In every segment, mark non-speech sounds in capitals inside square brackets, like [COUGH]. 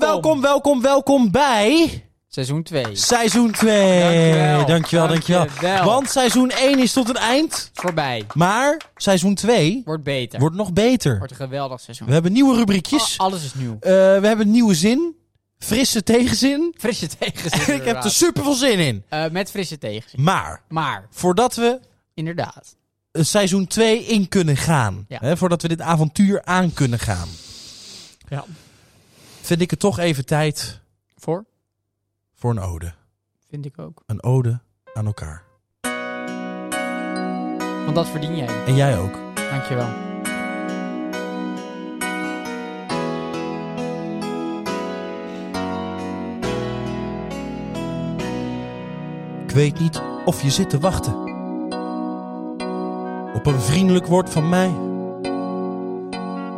welkom, welkom bij Seizoen 2. seizoen 2. Dankjewel. dankjewel. dankjewel. Dankjewel. Want seizoen 1 is tot een eind, Voorbij. maar seizoen 2 Wordt beter. wordt nog beter. Wordt een geweldig seizoen. We hebben nieuwe rubriekjes, Al- alles is nieuw. eh, we hebben nieuwe zin, frisse tegenzin. [LAUGHS] Frisse tegenzin. Ik heb er inderdaad. super veel zin in. Eh, met frisse tegenzin. Maar Maar, voordat we inderdaad. eh, seizoen 2 in kunnen gaan, Ja. hè, voordat we dit avontuur aan kunnen gaan, Ja. vind ik het toch even tijd Voor? voor een ode. Vind ik ook. Een ode aan elkaar. Want dat verdien jij. En jij ook. Dankjewel. Ik weet niet of je zit te wachten op een vriendelijk woord van mij.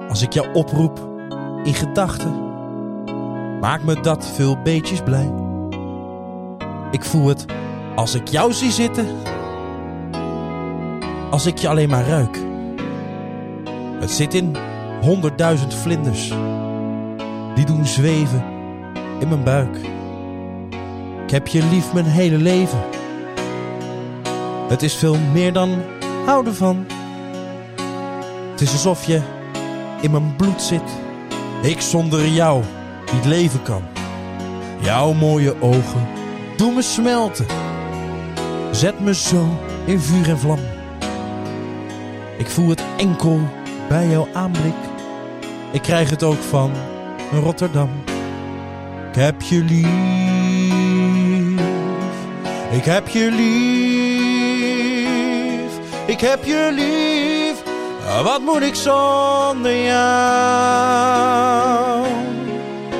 Als ik jou oproep in gedachten, maakt me dat veel beetjes blij. Ik voel het als ik jou zie zitten, als ik je alleen maar ruik. Het zit in honderdduizend vlinders, die doen zweven in mijn buik. Ik heb je lief mijn hele leven. Het is veel meer dan houden van. Het is alsof je in mijn bloed zit. Ik zonder jou niet leven kan. Jouw mooie ogen doen me smelten. Zet me zo in vuur en vlam. Ik voel het enkel bij jouw aanblik. Ik krijg het ook van Rotterdam. Ik heb je lief. Ik heb je lief. Ik heb je lief. Ah, Wat moet ik zonder jou?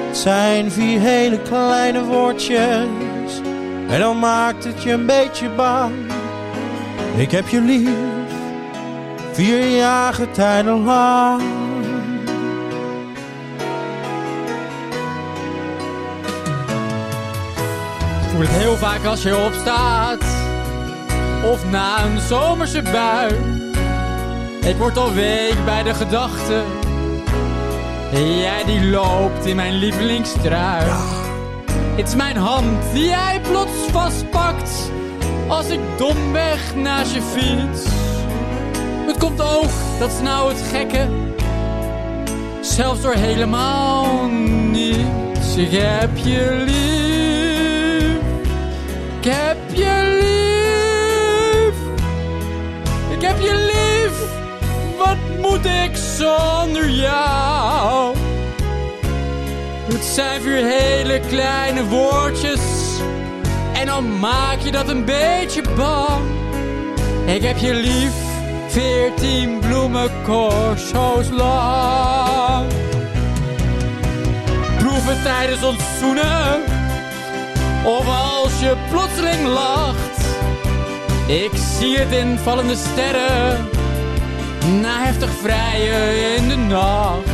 Het zijn vier hele kleine woordjes. En dan maakt het je een beetje bang. Ik heb je lief. Vier jaren tijden lang. Voel het heel vaak als je opstaat. Of na een zomerse bui. Ik word al week bij de gedachte. Jij die loopt in mijn lievelingstrui. Het is mijn hand die jij plots vastpakt. Als ik domweg naast je fiets. Het komt ook, dat is nou het gekke. Zelfs door helemaal niets. Ik heb je lief. Ik heb je lief. Ik heb je lief. Wat moet ik zonder jou? Het zijn vier hele kleine woordjes. En dan maak je dat een beetje bang. Ik heb je lief, veertien bloemencorso's lang. Proef het tijdens ons zoenen. Of als je plotseling lacht. Ik zie het in vallende sterren. Na heftig vrijen in de nacht.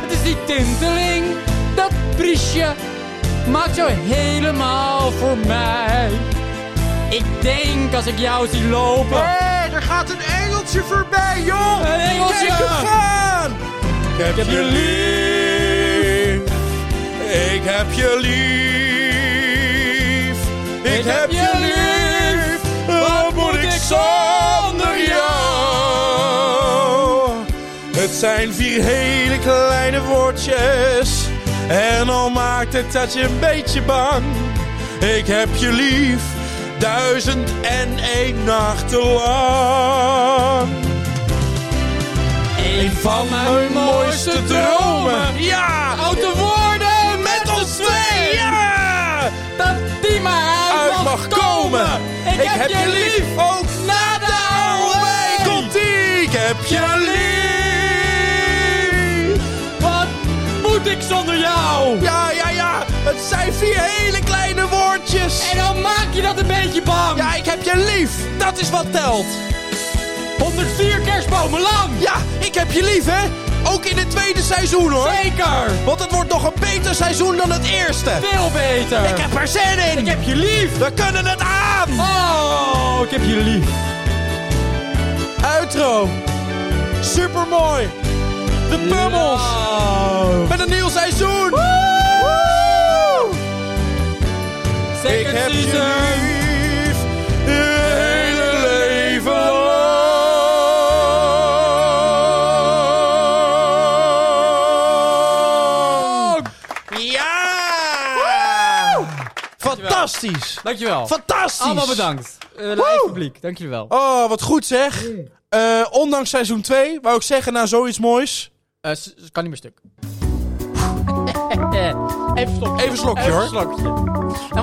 Het is die tinteling, dat briesje, maakt jou helemaal voor mij. Ik denk als ik jou zie lopen. Hé, er gaat een engeltje voorbij, joh! Een engeltje! Kijk hem gaan! Ik heb je lief. Ik heb je lief. Ik heb je lief. Wat moet ik zonder jou? Het zijn vier hele kleine woordjes. En al maakt het dat je een beetje bang. Ik heb je lief. Duizend en één nachten lang. Een van mijn mooiste dromen. Ja! Oud te worden Met ons twee! Ja! Dat die maar uit, Uit mag komen! Ik, heb je lief. Ook Na de Hey, AOW. komt ie! Ik heb je lief! Wat moet ik zonder jou? Ja, ja, ja! Het zijn vier hele kleine woordjes! En dan maak je dat een beetje bang. Ja, ik heb je lief! Dat is wat telt! 104 kerstbomen lang. Ja, ik heb je lief, hè? Ook in het tweede seizoen, hoor! Zeker. Want het wordt nog een beter seizoen dan het eerste! Veel beter. Ik heb er zin in! Ik heb je lief. We kunnen het aan! Oh, ik heb je lief. Outro. Supermooi. De Pummels. Wow. Met een nieuw seizoen. Woe! ik heb je lief, je hele leven lang. Ja! Fantastisch! Dankjewel. Fantastisch! Allemaal bedankt. Eh, live publiek, dank jullie wel. Oh, wat goed zeg. Mm. Eh, ondanks seizoen 2, wou ik zeggen, nou zoiets moois. Eh, s- s- kan niet meer stuk. [LAUGHS] Even slokje. Even slokje, Even hoor. een slokje. Nou,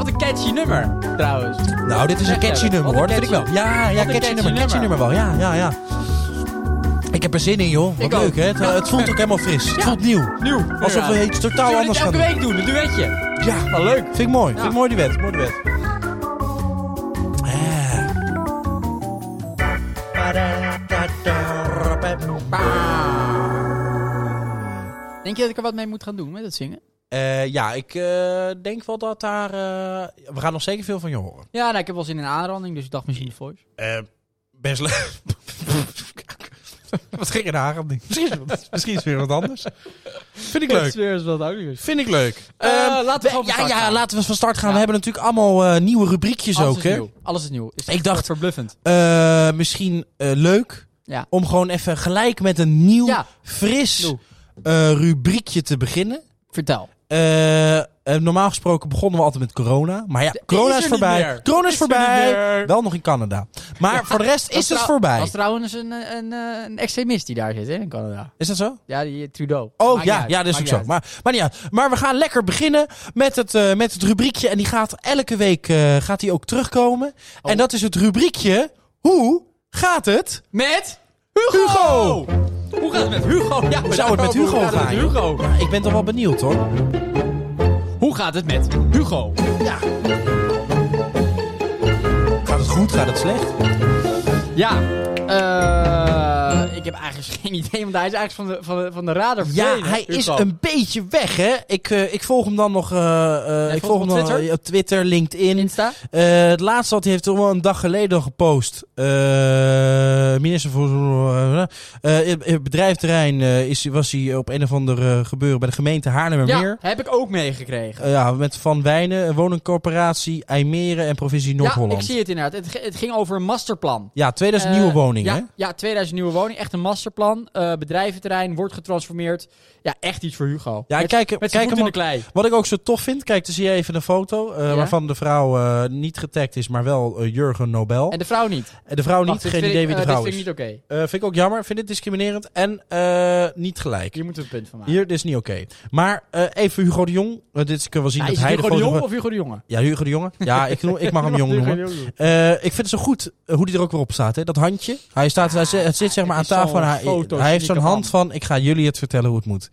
wat een catchy nummer, trouwens. Nou, dit is een Echt, catchy hè? nummer Wat hoor, een dat vind ik wel. catchy- Ja, ja wat een catchy, catchy nummer, catchy nummer nummer. wel. Ja, ja, ja. Ik heb er zin in joh. Wat Ik ook. leuk hè. Het, eh, het voelt ook helemaal fris. Het Ja. voelt nieuw. Nieuw. Alsof we Zullen iets totaal we dit anders gaan elke doen. week doen, een duetje. Ja, Wel leuk. vind ik mooi. Vind ik Ja. mooi die wet. Mooi die wet. Denk je dat ik er wat mee moet gaan doen met het zingen? Eh, ja, ik eh, denk wel dat daar... eh, we gaan nog zeker veel van je horen. Ja, nou, ik heb wel zin in een aanranding, dus ik dacht misschien de voice. Eh, best leuk. [LAUGHS] Wat ging er daar aan? Misschien, is het- misschien is het weer wat anders. Vind ik leuk. sfeer is wat ouder. Vind ik leuk. Eh, Ehm, laten we gewoon van ja, start ja, gaan. laten we van start gaan. We hebben natuurlijk allemaal eh, nieuwe rubriekjes Alles ook. is Hè? nieuw. Alles is nieuw. Is Ik echt dacht- verbluffend. Eh, misschien eh, leuk Ja. om gewoon even gelijk met een nieuw, Ja. fris Doe. eh, rubriekje te beginnen. Vertel. Eh, eh, normaal gesproken begonnen we altijd met corona. Maar ja, Ja, corona is is, er niet voorbij. meer. Corona is, Is er niet voorbij. meer. Wel nog in Canada. Maar voor de rest is Dat het trou- voorbij. Dat is trouwens een, eh, een, eh, een extremist die daar zit hè, in Canada. Is dat zo? Ja, die eh, Trudeau. Oh Maakt niet ja, uit. ja, dat is ook Maakt zo. niet uit. Maar, maar, niet uit. maar we gaan lekker beginnen met het, eh, met het rubriekje. En die gaat elke week eh, gaat die ook terugkomen. Oh. En dat is het rubriekje Hoe gaat het? Met Hugo! Hoe gaat het met Hugo? Ja, Zou het met Hugo Hoe gaat het gaan? met Hugo? Ja, Nou, ik ben toch wel benieuwd hoor. Hoe gaat het met Hugo? Gaat het goed? Gaat het slecht? Ja, eh, ik heb eigenlijk [LAUGHS] geen idee, want hij is eigenlijk van de, van de, van de radar Ja, verdwenen, hij is Hugo. een beetje weg hè. Ik, eh, ik volg hem dan nog. eh, eh, ik volgt volg hem hem dan op eh, op Twitter? Twitter, LinkedIn. Insta. Eh, het laatste wat hij heeft wel een dag geleden gepost. Eh, minister voor eh, eh, het bedrijfterrein eh, is, was hij op een of ander eh, gebeuren bij de gemeente Haarlemmermeer. Ja, heb ik ook meegekregen. Ja. ja, met Van Wijnen, een woningcorporatie, IJmeren en provincie Ja, ik Noord-Holland. Ja, zie het inderdaad. Het, ge- het ging over een masterplan. 2000 Eh, nieuwe woningen. ja, hè? Ja, 2000 nieuwe woningen. Echt een masterplan. Eh, bedrijventerrein wordt getransformeerd. Ja, echt iets voor Hugo. Ja, met, kijk, met zijn kijk voet hem op. in de klei. Wat ik ook zo tof vind, kijk, dan zie je even een foto eh, Ja. waarvan de vrouw eh, niet getagd is, maar wel eh, Jurgen Nobel. En En de vrouw niet. de vrouw niet, Wacht, dit geen vind idee ik- wie de eh, vrouw dit is. vind ik niet oké. Eh, vind ik ook jammer, vind dit discriminerend en eh, niet gelijk. Hier moeten we een punt van maken. Hier, dit is niet oké. Maar eh, even Hugo de Jong. Eh, dit kunnen we zien Ja, dat is het hij Hugo de de Jong foto- of Hugo de Jonge? Ja, Hugo de Jonge. Ja, ik, noem- ik mag [LAUGHS] hem Jong noemen. Eh, ik vind het zo goed eh, hoe die er ook weer op staat. Hè? Dat handje. Hij, staat, hij zit, het zit zeg maar aan het is tafel en zo'n hij, foto, hij heeft zo'n zieke hand man. van... Ik ga jullie het vertellen hoe het moet.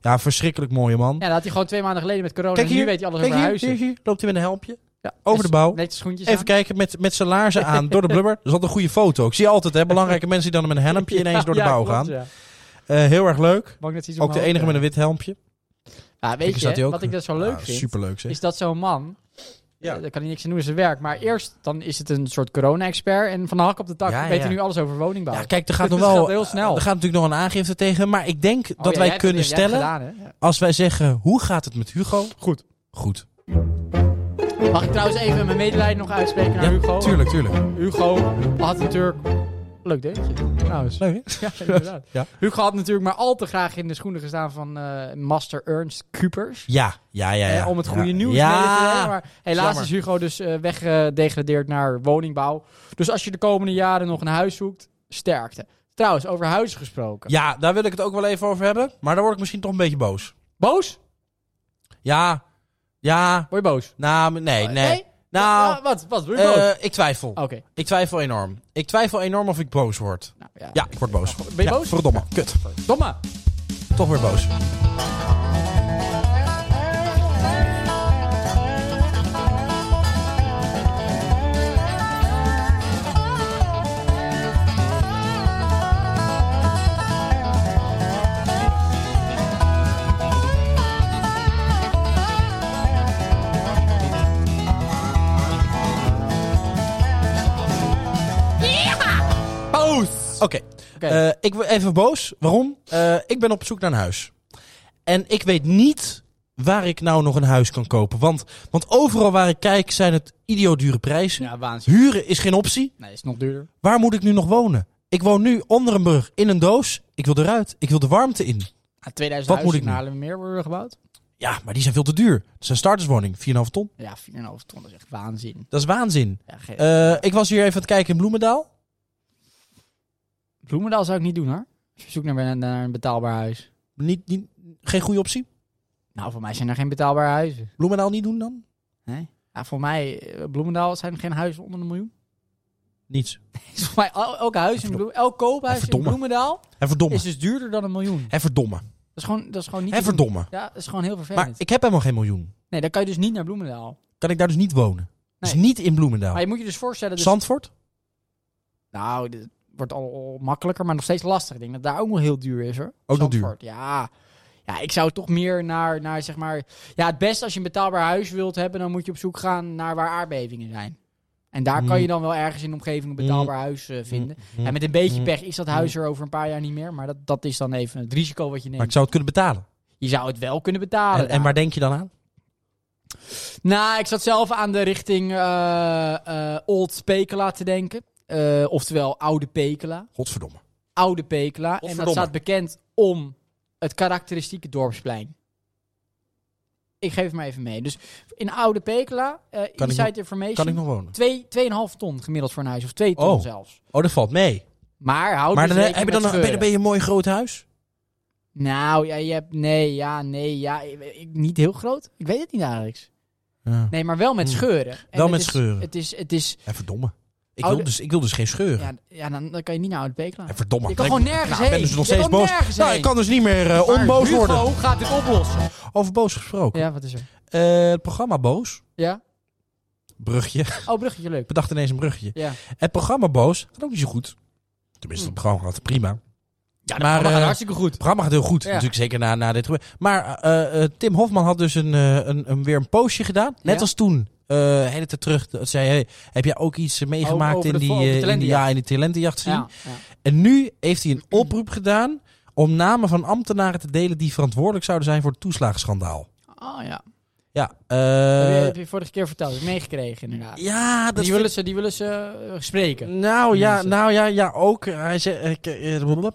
Ja, verschrikkelijk mooie man. Ja, dat had hij gewoon twee maanden geleden met corona. Kijk en hier, nu weet hij alles Kijk over hier, huizen. hier, hier. loopt hij met een helmpje. Ja, dus Over de bouw. Netjes schoentjes Even kijken, met, met zijn laarzen aan, door de blubber. Dat is altijd een goede foto. Ik zie altijd hè, [LAUGHS] belangrijke mensen die dan met een helmpje ineens door de bouw gaan. Eh, heel erg leuk. Ook de enige met een wit helmpje. Ja, Kijk, weet er je, staat hij hè, ook. eh, wat ik dat zo Ja, leuk vind, Superleuk zeg. is dat zo'n man... Ja. Ja. Daar kan hij niks aan doen in zijn werk. Maar eerst dan is het een soort corona-expert. En van de hak op de tak Ja, weet ja. hij nu alles over woningbouw. Ja, kijk, er gaat Dus nog dit wel. gaat heel snel. Er gaat natuurlijk nog een aangifte tegen. Maar ik denk Oh, dat ja, jij wij hebt kunnen het- jij hebt stellen. het gedaan, hè? Ja. Als wij zeggen hoe gaat het met Hugo? Goed. Goed. Mag ik trouwens even mijn medelijden nog uitspreken naar Ja, Hugo? tuurlijk, tuurlijk. Hugo had natuurlijk... Leuk deuntje, trouwens. Leuk, hè? [LAUGHS] Ja, inderdaad. Ja. Hugo had natuurlijk maar al te graag in de schoenen gestaan van eh, Master Ernst Kupers. Ja, ja, ja. ja. Hè, Eh, om het goede Ja. nieuws mee te ja. brengen. Maar helaas Jammer. is Hugo dus eh, weggedegradeerd naar woningbouw. Dus als je de komende jaren nog een huis zoekt, sterkte. Trouwens, over huizen gesproken. Ja, daar wil ik het ook wel even over hebben. Maar dan word ik misschien toch een beetje boos. Boos? Ja. Ja. Word je boos? Nou, nee, nee. Nou, Wa- wat? Wat? Word je boos? Oh. eh, ik twijfel. Oké. Ik twijfel enorm. Ik twijfel enorm of ik boos word. Nou, ja. Ja, ik word boos. Ben je boos? Verdomme. Kut. Domme. Toch weer boos. Boos! Oké. Oké. Eh, ik ben even boos. Waarom? Eh, ik ben op zoek naar een huis. En ik weet niet waar ik nou nog een huis kan kopen. Want, want overal waar ik kijk zijn het idioot dure prijzen. Ja, waanzinnig. Huren is geen optie. Nee, is nog duurder. Waar moet ik nu nog wonen? Ik woon nu onder een brug in een doos. Ik wil eruit. Ik wil de warmte in. Ah, 2000 Wat huizen moet ik in nu? Haarlemmermeer worden gebouwd. Ja, maar die zijn veel te duur. Het is een starterswoning, 4,5 ton. Ja, 4,5 ton, dat is echt waanzin. Dat is waanzin. Ja, ge- Eh, ik was hier even aan het kijken in Bloemendaal. Bloemendaal zou ik niet doen hoor. Als je zoekt naar, naar- naar een betaalbaar huis. Niet, niet, geen goede optie. Nou, voor mij zijn er geen betaalbare huizen. Bloemendaal niet doen dan? Nee. Ja, voor mij, eh, Bloemendaal zijn geen huizen onder de miljoen. [LAUGHS] Niets. Is voor mij el- elk huis in Verdomme. Bloemendaal, elk koophuis in Verdomme. Bloemendaal En verdomme. is dus duurder dan een miljoen. Dat En verdomme. is gewoon, dat is gewoon niet. En te doen. verdomme. Ja, dat is gewoon heel Maar vervelend. ik heb helemaal geen miljoen. Nee, dan kan je dus niet naar Bloemendaal. Kan ik daar dus niet wonen. Dus Nee. niet in Bloemendaal. Maar je moet je dus voorstellen. Dus, Zandvoort? Nou, dit wordt al, al makkelijker, maar nog steeds lastig. Ik denk dat daar ook nog heel duur is hoor. Ook nog duur. Zandvoort, Ja. Ja, ik zou toch meer naar, naar zeg maar. Ja, het beste als je een betaalbaar huis wilt hebben, dan moet je op zoek gaan naar waar aardbevingen zijn. En daar kan Mm. je dan wel ergens in de omgeving een betaalbaar huis eh, vinden. Mm. En met een beetje Mm. pech is dat huis er over een paar jaar niet meer. Maar dat, dat is dan even het risico wat je Maar ik neemt. zou het kunnen betalen. Je zou het wel kunnen betalen. En, en daar. waar denk je dan aan? Nou, ik zat zelf aan de richting eh, eh, Old Pekela te denken. Eh, oftewel Oude Pekela. Godverdomme. Oude Pekela. En dat Godverdomme. staat bekend om het karakteristieke dorpsplein. Ik geef het maar even mee. Dus in Oude Pekela, eh nog- Inside Information, Kan ik nog wonen? twee, 2,5 ton gemiddeld voor een huis. Of 2 ton Oh. zelfs. Oh, dat valt mee. Maar houd maar dus dan, eh, heb rekening je dan met een, ben, je, scheuren. ben je een mooi groot huis? Nou, ja, je hebt... Nee, ja, nee, ja. ik- ik- niet heel groot. Ik weet het niet, Alex. Ja. Nee, maar wel met Hmm. scheuren. En Wel het met is- scheuren. Het is... Het is En verdomme. Ik Oude- wil, dus, ik wil dus geen scheuren. ja, ja dan, dan kan je niet naar Oud-Beek En verdomme. Je kan gewoon nergens nou, Ik ben heen. dus nog Je steeds kan boos. nergens Nou, heen. ik kan dus niet meer eh, Maar onboos Hugo worden. gaat dit oplossen. Over boos gesproken. Ja, wat is er? Eh, het programma Boos. Ja? Brugje. [LAUGHS] Oh, bruggetje, leuk. Bedacht ineens een brugje. Ja. Hm. Het programma Boos gaat ook niet zo goed. Tenminste, het programma gaat prima. Ja, Maar, maar, eh, gaat hartstikke goed. Het programma gaat heel goed, Ja. natuurlijk zeker na, na dit gebeuren. Maar eh, eh, Tim Hofman had dus een, eh, een, een, weer een postje gedaan. Net Ja. als toen, eh hele tijd terug, dat zei hey, heb jij ook iets eh, meegemaakt over in, de die, vo- over de eh, in, die, talentenjacht. ja, in die talentenjacht zien? Ja, ja. En nu heeft hij een oproep gedaan om namen van ambtenaren te delen die verantwoordelijk zouden zijn voor het toeslagenschandaal. Oh ja. Ja, Dat heb je- eh, heb je vorige keer verteld. Heb je meegekregen inderdaad. ja dat die, willen ze, die willen ze eh, spreken. Nou ja, Mensen. nou ja, ja ook. Hij zei, eh, k- eh, blablabla.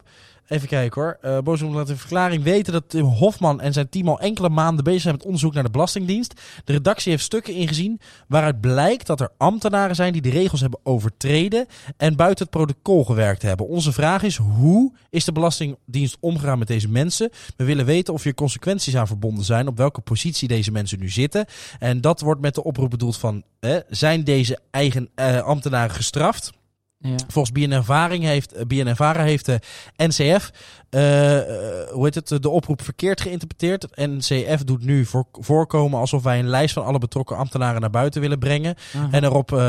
even kijken hoor. Eh Bozoom laat in verklaring weten dat Tim Hofman en zijn team al enkele maanden bezig zijn met onderzoek naar de Belastingdienst. De redactie heeft stukken ingezien waaruit blijkt dat er ambtenaren zijn die de regels hebben overtreden en buiten het protocol gewerkt hebben. Onze vraag is: hoe is de Belastingdienst omgegaan met deze mensen? We willen weten of hier consequenties aan verbonden zijn, op welke positie deze mensen nu zitten. En dat wordt met de oproep bedoeld van: hè, zijn deze eigen eh, ambtenaren gestraft? Ja. Volgens BNNVARING heeft, eh, BNNVARA heeft de NCF eh, eh, hoe heet het, eh, de oproep verkeerd geïnterpreteerd. Het NCF doet nu voor- voorkomen alsof wij een lijst van alle betrokken ambtenaren naar buiten willen brengen. En erop, eh,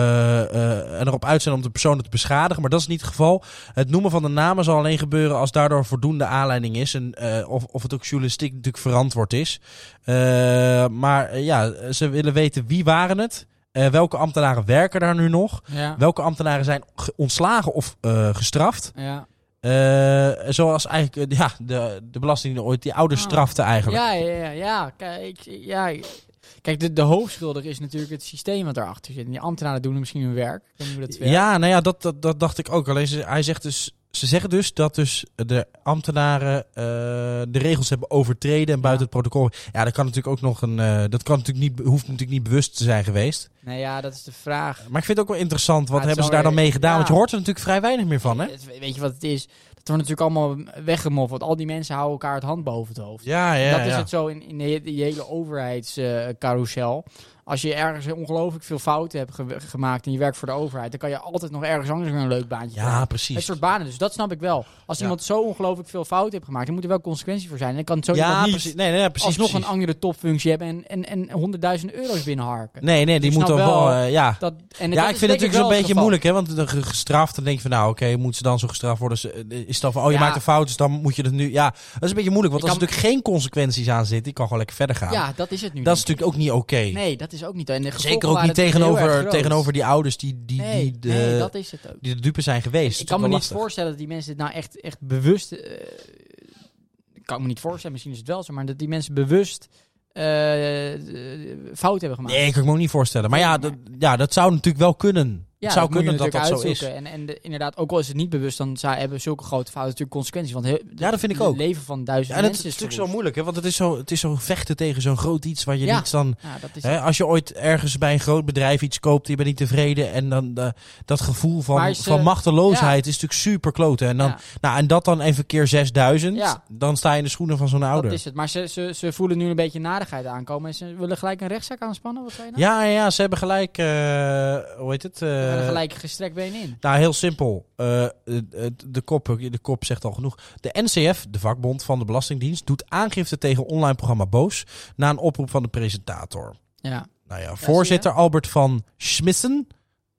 eh, en erop uit zijn om de personen te beschadigen. Maar dat is niet het geval. Het noemen van de namen zal alleen gebeuren als daardoor voldoende aanleiding is. En eh, of, of het ook journalistiek natuurlijk verantwoord is. Eh, maar eh, ja, ze willen weten wie waren het. eh, welke ambtenaren werken daar nu nog? Ja. Welke ambtenaren zijn ge- ontslagen of eh, gestraft? Ja. Eh, zoals eigenlijk eh, ja, de, de Belastingdienst ooit die ouders Ah. strafte eigenlijk. Ja, ja, ja, ja. Kijk, ja. Kijk, de, de hoofdschuldig is natuurlijk het systeem wat daarachter zit. En die ambtenaren doen misschien hun werk. Ik weet niet hoe dat Ja, werkt. nou ja, dat, dat, dat dacht ik ook. Alleen ze, hij zegt dus, ze zeggen dus dat dus de ambtenaren eh, de regels hebben overtreden en buiten het protocol. Ja, dat kan natuurlijk ook nog een. eh, dat kan natuurlijk niet, hoeft natuurlijk niet bewust te zijn geweest. Nou ja, dat is de vraag. Maar ik vind het ook wel interessant. Wat Ja, het hebben zou ze daar dan weer- mee gedaan? ja. Want je hoort er natuurlijk vrij weinig meer van, hè? Het- weet je wat het is? Dat wordt natuurlijk allemaal weggemoffeld. want al die mensen houden elkaar het hand boven het hoofd. Ja, ja. dat is ja. het zo in, in de, die hele overheidscarousel. Als je ergens ongelooflijk veel fouten hebt ge- gemaakt en je werkt voor de overheid, dan kan je altijd nog ergens anders weer een leuk baantje Ja, krijgen. precies. Het soort banen, dus dat snap ik wel. Als Ja. iemand zo ongelooflijk veel fouten heeft gemaakt, dan moet er wel consequentie voor zijn. En dan kan het zo ja, iemand niet precies. Nee, nee, nee, precies. alsnog precies. een andere topfunctie hebben en, en, en 100.000 euro's binnenharken. Nee, nee, die Dus Ik moet snap dan wel. wel- eh, ja. Dat, ja, en dat ik is vind het denk natuurlijk zo'n wel het beetje geval. moeilijk, hè? Want de ge- gestraft, dan denk je van, nou, oké, moeten ze dan zo gestraft worden? Ze- eh, Is het dan van, oh, je Ja. maakt een fout, dus dan moet je dat nu. Ja, dat is een beetje moeilijk, want Je als er kan- natuurlijk geen consequenties aan zitten, die kan gewoon lekker verder gaan. Ja, dat is het nu. dat is niet. natuurlijk ook niet oké. Nee, dat is ook niet. En de Zeker gevolgen ook niet waren natuurlijk heel erg tegenover, groot. tegenover die ouders die, die, Nee, die, de, nee, dat is het ook. die de dupe zijn geweest. Ik Dat kan is me wel niet lastig. voorstellen dat die mensen het nou echt, echt bewust. eh, Ik kan me niet voorstellen, misschien is het wel zo, maar dat die mensen bewust eh, eh, eh, fout hebben gemaakt. Nee, ik kan ik me ook niet voorstellen. Maar ja, dat, ja, dat zou natuurlijk wel kunnen. Ja, het zou moet je kunnen dat dat zo natuurlijk is. uitzoeken. En, en de- inderdaad, ook al is het niet bewust, dan zou, hebben zulke grote fouten natuurlijk consequenties. Want heel, Ja, dat vind ik het ook. leven van duizend Ja, en het is mensen is natuurlijk zo verwoest. moeilijk, hè? want het is zo, het is zo vechten tegen zo'n groot iets waar je Ja. niets dan... Ja, dat is Hè, als je ooit ergens bij een groot bedrijf iets koopt, je bent niet tevreden en dan eh, dat gevoel Maar van, is, eh, van machteloosheid is natuurlijk super kloten. En, dan, Ja. nou, en dat dan even keer 6000, Ja. dan sta je in de schoenen van zo'n ouder. Dat is het. Maar ze, ze, ze voelen nu een beetje nadigheid aankomen. En ze willen gelijk een rechtszaak aanspannen. Wat zei je nou? Ja, ja, ja, ze hebben gelijk, eh, hoe heet het? eh, Ze willen gelijk gestrekt been in. Nou, heel simpel. Eh, eh, de, kop, eh, de kop zegt al genoeg. De NCF, de vakbond van de Belastingdienst, doet aangifte tegen online programma Boos na een oproep van de presentator. Ja. Nou ja, voorzitter Albert van Schmissen.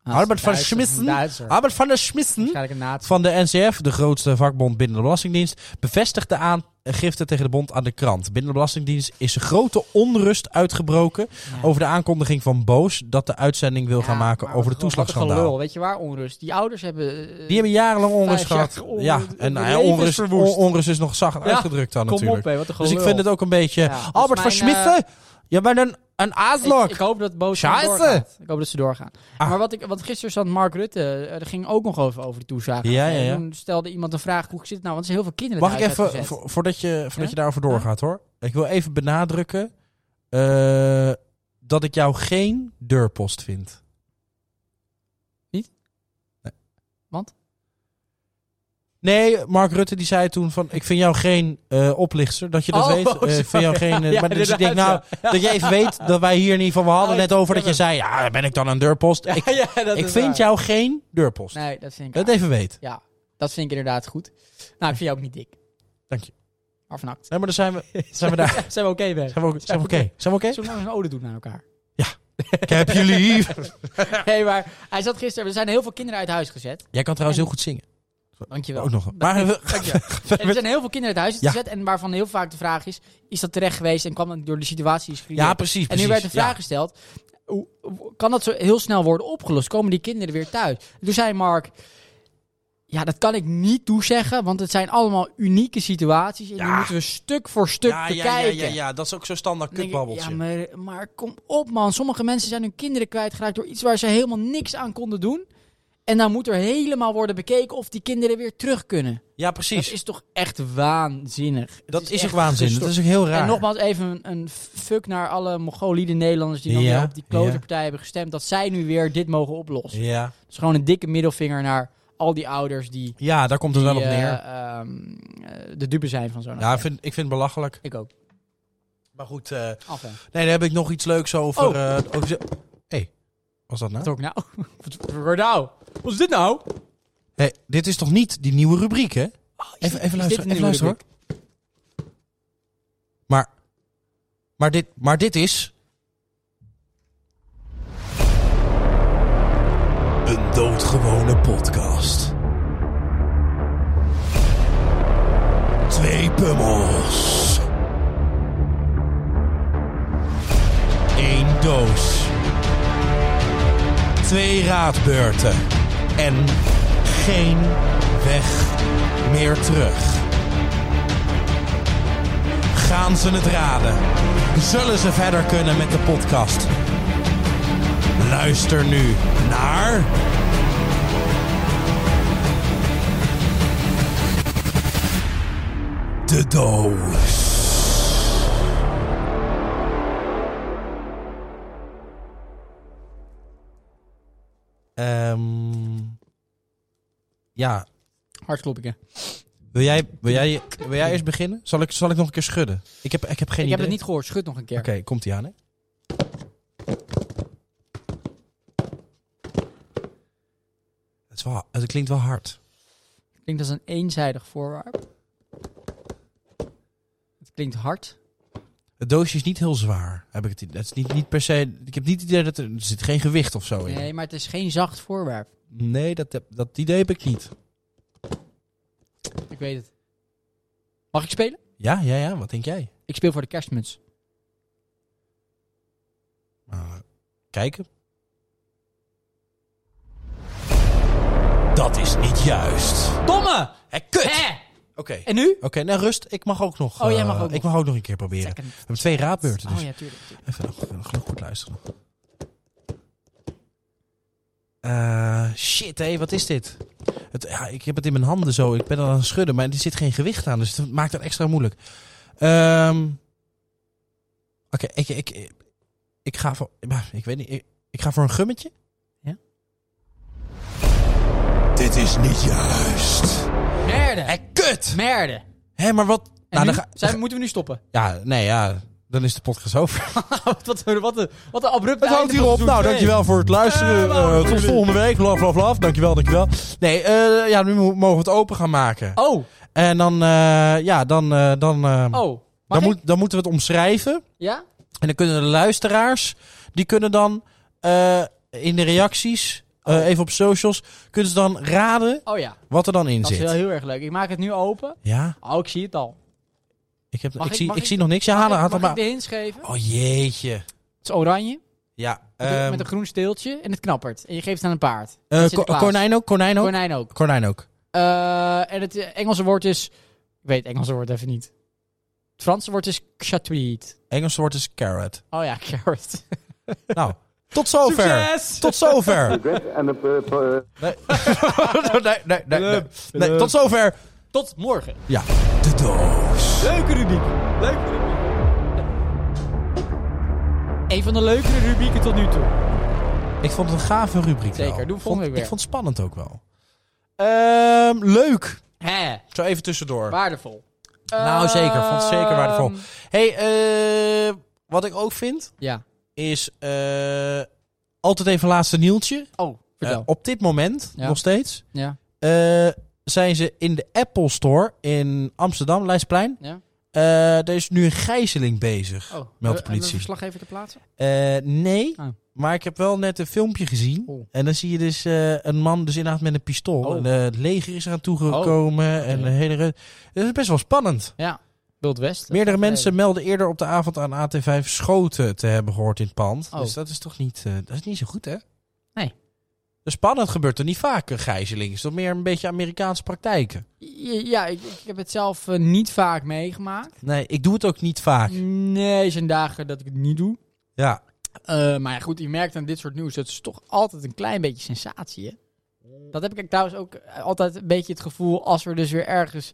Albert van Schmissen? Waarschijnlijk Albert van der Schmissen een nazi. van de NCF, de grootste vakbond binnen de Belastingdienst, bevestigt de aangifte tegen de bond aan de krant. Binnen de Belastingdienst is grote onrust uitgebroken Ja. over de aankondiging van Boos dat de uitzending wil Ja, gaan maken maar over de wat- wat een toeslagschandaal. gelul. Weet je waar onrust? Die ouders hebben... eh, Die hebben jarenlang onrust Vijf jaar gehad. onrust. ja, en De nou ja, leven is onrust, on- verwoest. onrust is nog zacht uitgedrukt dan Kom natuurlijk. op, hé, wat een gelul. dus ik vind het ook een beetje... Ja, dat Albert is van mijn, eh, Schmitten, je bent een, een aaslok. Ik, ik hoop dat boos Scheiße. doorgaat. Ik hoop dat ze doorgaan. Ah. Maar wat ik, want gisteren zat Mark Rutte, eh, er ging ook nog over, over de toezagen. Ja, ja, ja. En toen stelde iemand een vraag, hoe zit het nou? Want er zijn heel veel kinderen Mag ik thuis even, uitgezet. vo- voordat je, voordat Ja? je daarover doorgaat hoor. Ik wil even benadrukken eh, dat ik jou geen deurpost vind. Niet? Nee. Want? Nee, Mark Rutte die zei toen van, ik vind jou geen eh, oplichter, dat je dat Oh, weet. Eh, [LAUGHS] sorry. ik vind jou geen, eh, Ja, maar dus ik denk inderdaad, nou, dat je even weet dat wij hier in ieder geval, we hadden Oh, net over dat je sorry. zei, ja, ben ik dan een deurpost? ik [LAUGHS] ja, dat ik is vind waar. jou geen deurpost. Nee, dat vind ik Dat raar. even weet. Ja, dat vind ik inderdaad goed. Nou, ik vind jou ook niet dik. Dank je. Maar vernakt. Nee, maar dan zijn we, [LAUGHS] zijn we daar. Zijn we oké mee? Zijn we, ook- zijn we oké? Zijn we oké? Zullen we nou eens een ode doen aan elkaar? Ik heb je lief. Nee, maar hij zat gisteren... Er zijn heel veel kinderen uit huis gezet. Jij kan trouwens heel goed zingen. Dankjewel. Ook Oh, nog. Maar Dank [LAUGHS] je. En er zijn heel veel kinderen uit huis Ja. gezet. En waarvan heel vaak de vraag is... Is dat terecht geweest en kwam dat door de situatie? Is ja, precies. en nu precies. werd de vraag Ja. gesteld... hoe- hoe- Kan dat zo heel snel worden opgelost? Komen die kinderen weer thuis? Toen zei Mark... Ja, dat kan ik niet toezeggen, want het zijn allemaal unieke situaties. En die Ja. moeten we stuk voor stuk ja, ja, bekijken. ja, ja, ja, dat is ook zo'n standaard Dan denk ik, kutbabbeltje. Ja, maar, maar kom op man. Sommige mensen zijn hun kinderen kwijtgeraakt door iets waar ze helemaal niks aan konden doen. En dan moet er helemaal worden bekeken of die kinderen weer terug kunnen. Ja, precies. Dat is toch echt waanzinnig. Het Dat is, ook echt waanzin. gestoord. Dat is ook heel raar. En nogmaals even een, een fuck naar alle mongoliede Nederlanders die dan Ja, weer op die ja. klote partij hebben gestemd. Dat zij nu weer dit mogen oplossen. Ja. Dus gewoon een dikke middelvinger naar al die ouders die, ja, daar komt het wel op die, neer. eh, ehm, eh, de dupe zijn van zo'n ja, ik affaire. vind, ik vind het belachelijk. Ik ook. Maar goed, eh, nee, Af en. daar heb ik nog iets leuks over. Oh. eh, over ze- hey, was dat nou? [LAUGHS] Wat ook nou? Wat wordt nou? Wat is dit nou? Hey, Eh, dit is toch niet die nieuwe rubriek, hè? Even, even Oh, Is dit luisteren, een even nieuwe luisteren hoor. Maar, maar, dit, maar dit is... Een doodgewone podcast. Twee pummels. Eén doos. Twee raadbeurten. En geen weg meer terug. Gaan ze het raden? Zullen ze verder kunnen met de podcast? Luister nu naar. De doos. Ehm, ja, Hartkloppingen. wil jij, wil, jij, wil jij eerst beginnen? Zal ik, zal ik nog een keer schudden? Ik heb, ik heb geen Ik idee. heb het niet gehoord. Schud nog een keer. Oké, komt ie aan, hè? Het, is wel, het klinkt wel hard. Ik denk dat is een eenzijdig voorwerp. Het klinkt hard. Het doosje is niet heel zwaar, heb ik het idee. Het is niet, niet per se... Ik heb niet het idee dat er... Er zit geen gewicht of zo in. Nee, maar het is geen zacht voorwerp. Nee, dat, heb- dat idee heb ik niet. Ik weet het. Mag ik spelen? Ja, ja, ja. Wat denk jij? Ik speel voor de kerstmuts. Nou, kijken. Dat is niet juist. Domme! Hé, kut! Hè? En nu? Oké, nou rust. Ik mag ook nog. Oh, jij eh, mag ook ik nog. mag ook nog een keer proberen. Second. We hebben twee raadbeurten, dus Oh ja, tuurlijk. tuurlijk. even nog, nog- nog goed luisteren. Eh, shit, hé, wat is dit? Het, ja, ik heb het in mijn handen zo. Ik ben al aan het schudden, maar er zit geen gewicht aan, dus het maakt het extra moeilijk. Ehm, Oké, ik, ik, ik, ik ga voor. maar Ik weet niet. Ik, ik ga voor een gummetje. Dit is niet juist. Merde! Hé, Eh, kut! Merde! Hé, maar wat? En Nou, nu? dan ga- Zijn, moeten we nu stoppen? [LAUGHS] Nou, Ja, nee, ja. Dan is de podcast over. wat, wat, wat, een, wat een abrupte Het houdt einde hierop. van seizoen Nou, twee. dankjewel voor het luisteren. Eh, Eh, tot volgende week. Laf, laf, laf. Dankjewel, dankjewel. Nee, eh, ja, nu mo- mogen we het open gaan maken. Oh, En dan, eh, ja, dan, eh, dan, eh, oh. Mag dan, ik? moet, dan moeten we het omschrijven. Ja? En dan kunnen de luisteraars, die kunnen dan eh, in de reacties, eh, even op socials, kunnen ze dan raden Oh ja. wat er dan in Dat is zit. wel heel erg leuk. Ik maak het nu open. Ja, Oh, ik zie het al. ik, heb, ik, Mag ik- zie, mag ik ik- zie nog niks. Ja, haal, Mag haal ik, het mag ik maar. de hints geven? Oh jeetje. Het is oranje. Ja, Met, ehm, een, met een groen steeltje. En het knappert. En je geeft het aan een paard. eh, Sinterklaas. ko- konijn ook, konijn ook. Konijn ook. Konijn ook. Eh, en het eh, Engelse woord is... Ik weet het Engelse woord even niet. Het Franse woord is chatouille. Engels woord is carrot. Oh ja, [LAUGHS] carrot. Nou, tot zover. Succes! Tot zover. regret and a nee, nee, nee, nee, nee. Nee, tot zover. Tot morgen. Ja, de doos. Leuke rubriek. Leuke rubriek. Een van de leukere rubrieken tot nu toe. Ik vond het een gave rubriek wel. Zeker, doe volgende Vond- week weer. Ik vond het spannend ook wel. Ehm, leuk. Hè, Zo even tussendoor. waardevol. Nou, zeker. Vond het zeker waardevol. Ehm, hey, eh, wat ik ook vind Ja. is eh, altijd even laatste nieltje. Oh, vertel. Eh, op dit moment Ja. nog steeds ja. eh, zijn ze in de Apple Store in Amsterdam, Leidseplein. Ja. Eh, er is nu een gijzeling bezig. Oh, de hebben we politie. Een verslaggever te plaatsen? Eh, nee, Ah. maar ik heb wel net een filmpje gezien. Oh. En dan zie je dus eh, een man dus inderdaad met een pistool. Oh. En, eh, het leger is eraan toegekomen. En de hele... re- Dat is best wel spannend. Ja. Wild West. Meerdere mensen melden eerder op de avond aan AT5 schoten te hebben gehoord in het pand. Oh. Dus dat is toch niet, eh, dat is niet zo goed, hè? Nee. Dus Spannend gebeurt er niet vaak, een gijzeling. is toch meer een beetje Amerikaanse praktijken? Ja, ik, ik heb het zelf eh, niet vaak meegemaakt. Nee, ik doe het ook niet vaak. Nee, er zijn dagen dat ik het niet doe. Ja. Eh, maar ja, goed, je merkt aan dit soort nieuws, dat is toch altijd een klein beetje sensatie, hè? Dat heb ik trouwens ook eh, altijd een beetje het gevoel, als er dus weer ergens,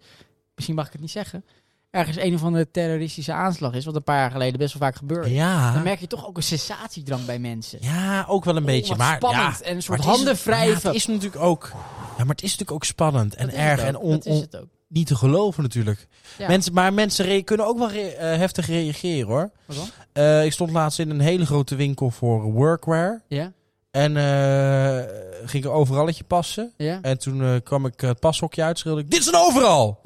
misschien mag ik het niet zeggen, ergens een of andere terroristische aanslag is, wat een paar jaar geleden best wel vaak gebeurde. Dan Ja. merk je toch ook een sensatiedrang bij mensen. Ja, ook wel een beetje. Oh, wat maar spannend. ja, En een soort maar het is- handen wrijven. Ja, het is natuurlijk ook. Ja, maar het is natuurlijk ook spannend en Dat is erg het ook, en on- dat is on- het ook. niet te geloven natuurlijk. Ja. Mensen, maar mensen re- kunnen ook wel re- eh, heftig reageren hoor. Wat dan? Eh, ik stond laatst in een hele grote winkel voor workwear. Ja, En eh, ging een overalletje passen. ja. En toen eh, kwam ik eh, het pashokje uit, schreeuwde ik, dit is een [LAUGHS] overal!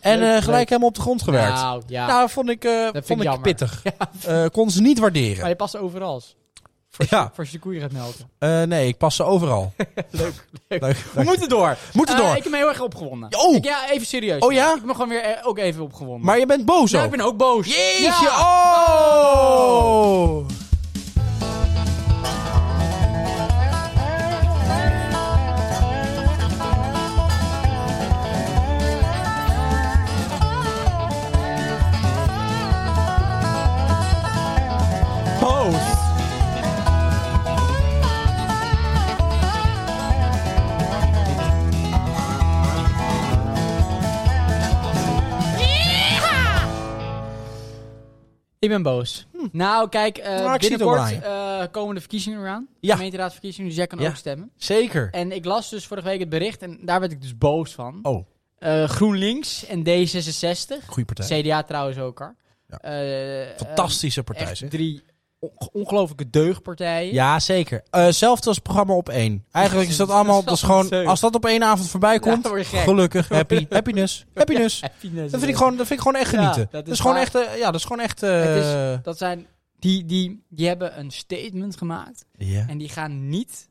en eh, Leuk, gelijk leuk. helemaal op de grond gewerkt. Nou, Nou, ja. vond ik, eh, vind vond ik ik, jammer. [LAUGHS] pittig. Eh kon ze niet waarderen. maar je past overal. Ja, Voor als je de koeien gaat melken. eh, nee, ik pas ze overal. [LAUGHS] Leuk. Leuk. We moeten door. Moeten Eh, door. Ik heb me heel erg opgewonden. Oh. Ik- ja, even serieus. Oh ja? Ik ben gewoon weer eh, ook even opgewonden. Maar je bent boos Nou, ook. ik ben ook boos. Jeetje, Ja. oh! Boos. Ik ben boos. Nou, kijk, eh, Nou, ik zie het binnenkort ook eh, komen de verkiezingen eraan. Ja. Gemeenteraadsverkiezingen, dus jij kan Ja. ook stemmen. Zeker. En ik las dus vorige week het bericht en daar werd ik dus boos van. Oh, Eh, GroenLinks en D66. goede partij. CDA trouwens ook hoor. Ja. Eh, Fantastische eh, partij, echt zeg. drie on- ongelofelijke deugdpartijen. Ja, zeker. Eh, Hetzelfde als het programma op één. Eigenlijk is dat allemaal, dat is gewoon, als dat op één avond voorbij komt, Ja, word je gek. gelukkig, [LAUGHS] happy, happiness, happiness. Happiness. Dat vind ik gewoon, dat vind ik gewoon echt Ja, genieten. dat dat, is is gewoon waar. echt, eh, ja, dat is gewoon echt. Het is- eh, Dat zijn, die, die, die hebben een statement gemaakt. ja. En die gaan niet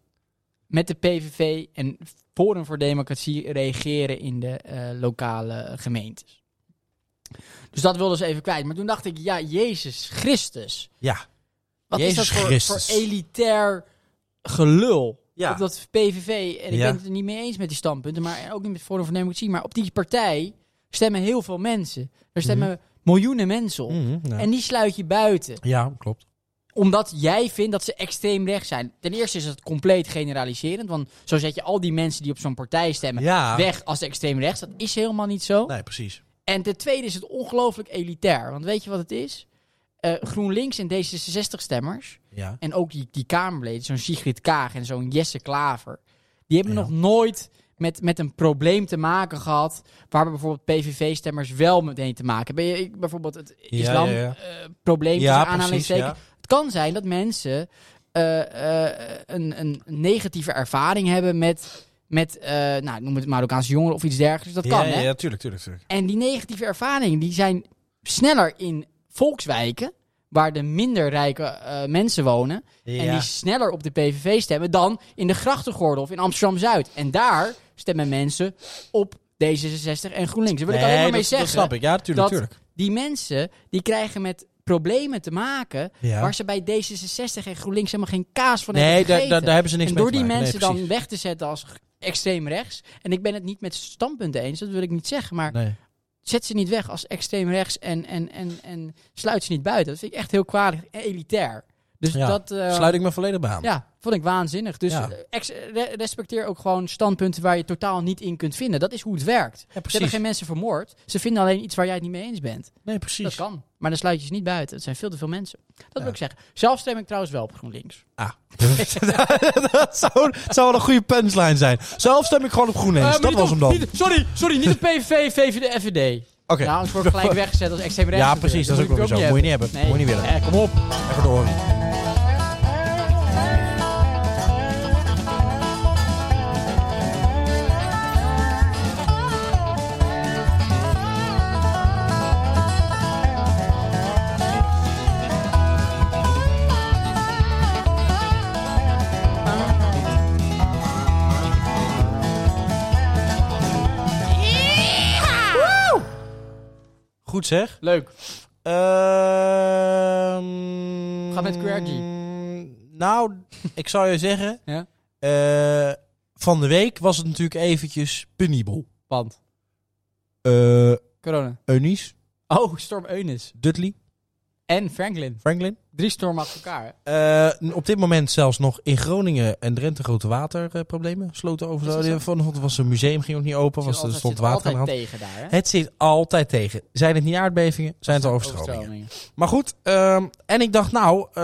met de PVV en Forum voor Democratie reageren in de eh, lokale gemeentes. Dus dat wilden ze even kwijt. Maar toen dacht ik, ja, Jezus Christus. Ja. Wat Jezus is dat voor, Christus. voor elitair gelul? Ja. Op dat PVV, en ik Ja. ben het er niet mee eens met die standpunten, maar ook niet met Forum voor Democratie, maar op die partij stemmen heel veel mensen. Er stemmen miljoenen mensen op. Mhm, ja. En die sluit je buiten. ja, klopt. Omdat jij vindt dat ze extreem rechts zijn. Ten eerste is het compleet generaliserend. Want zo zet je al die mensen die op zo'n partij stemmen Ja, weg als extreem rechts. Dat is helemaal niet zo. nee, precies. En ten tweede is het ongelooflijk elitair. Want weet je wat het is? Eh, GroenLinks en D66-stemmers. Ja. En ook die, die Kamerleden, zo'n Sigrid Kaag en zo'n Jesse Klaver. Die hebben Ja. nog nooit met, met een probleem te maken gehad. Waar bijvoorbeeld PVV-stemmers wel meteen te maken hebben. Je- ik- Bijvoorbeeld het ja, ja. islamprobleem. Ja, precies. aanhalingstekens. Ja. Het kan zijn dat mensen eh, eh, een, een negatieve ervaring hebben met. Met, eh, nou, noem het Marokkaanse jongeren of iets dergelijks. Dus Dat kan, ja, hè? ja, tuurlijk, tuurlijk, tuurlijk. En die negatieve ervaringen die zijn sneller in volkswijken, waar de minder rijke eh, mensen wonen. En die sneller op de PVV stemmen dan in de grachtengordel of in Amsterdam-Zuid. En daar stemmen mensen op D66 en GroenLinks. Daar wil ik alleen maar mee dat, zeggen. dat snap ik. Ja, tuurlijk, dat- tuurlijk. Die mensen die krijgen met problemen te maken Ja. waar ze bij D66 en GroenLinks helemaal geen kaas van nee, hebben daar, gegeten. daar, daar hebben ze niks en mee door te die maken. mensen nee, dan weg te zetten als g- extreem rechts. En ik ben het niet met standpunten eens, dat wil ik niet zeggen. Maar precies. Nee. zet ze niet weg als extreem rechts en, en, en, en sluit ze niet buiten. Dat vind ik echt heel kwalijk en elitair. Dus Ja, dat eh, Sluit ik me volledig bij aan. ja, vond ik waanzinnig. Dus Ja. eh, ex- re- respecteer ook gewoon standpunten waar je totaal niet in kunt vinden. Dat is hoe het werkt. Ja, Ze hebben precies. geen mensen vermoord. Ze vinden alleen iets waar jij het niet mee eens bent. Nee, precies. Dat kan. Maar dan sluit je ze niet buiten. Het zijn veel te veel mensen. Dat Ja. wil ik zeggen. Zelf stem ik trouwens wel op GroenLinks. Ah. [LAUGHS] dat, zou, dat zou wel een goede punchline zijn. Zelf stem ik gewoon op GroenLinks. Eh, maar dat niet was op- hem dan. niet- sorry, sorry, [LAUGHS] niet op PVV, VVD, FVD. Oké. Nou, anders word ik gelijk weggezet als extreem rechts. Ja, precies. Dat is ook wel weer zo. Moet je niet hebben. Moet je niet willen. Eh, kom op. Even door. Goed zeg. Leuk. Ehm, Ga met QRG. Nou, [LAUGHS] ik zou je zeggen. Ja? eh, van de week was het natuurlijk eventjes penibel. Want Eh corona. Eunice, Oh, storm Eunice. Dudley, En Franklin. Franklin. Drie stormen achter elkaar. hè? Eh, op dit moment zelfs nog in Groningen en Drenthe grote waterproblemen. Sloten over. Is dat zo. zo? Van, want er was een museum ging ook niet open. Was, er Altijd- stond zit water aan de altijd hand. tegen daar, hè? Het zit altijd tegen. Zijn het niet aardbevingen, zijn het overstromingen. [LAUGHS] Maar goed, ehm, en ik dacht nou, eh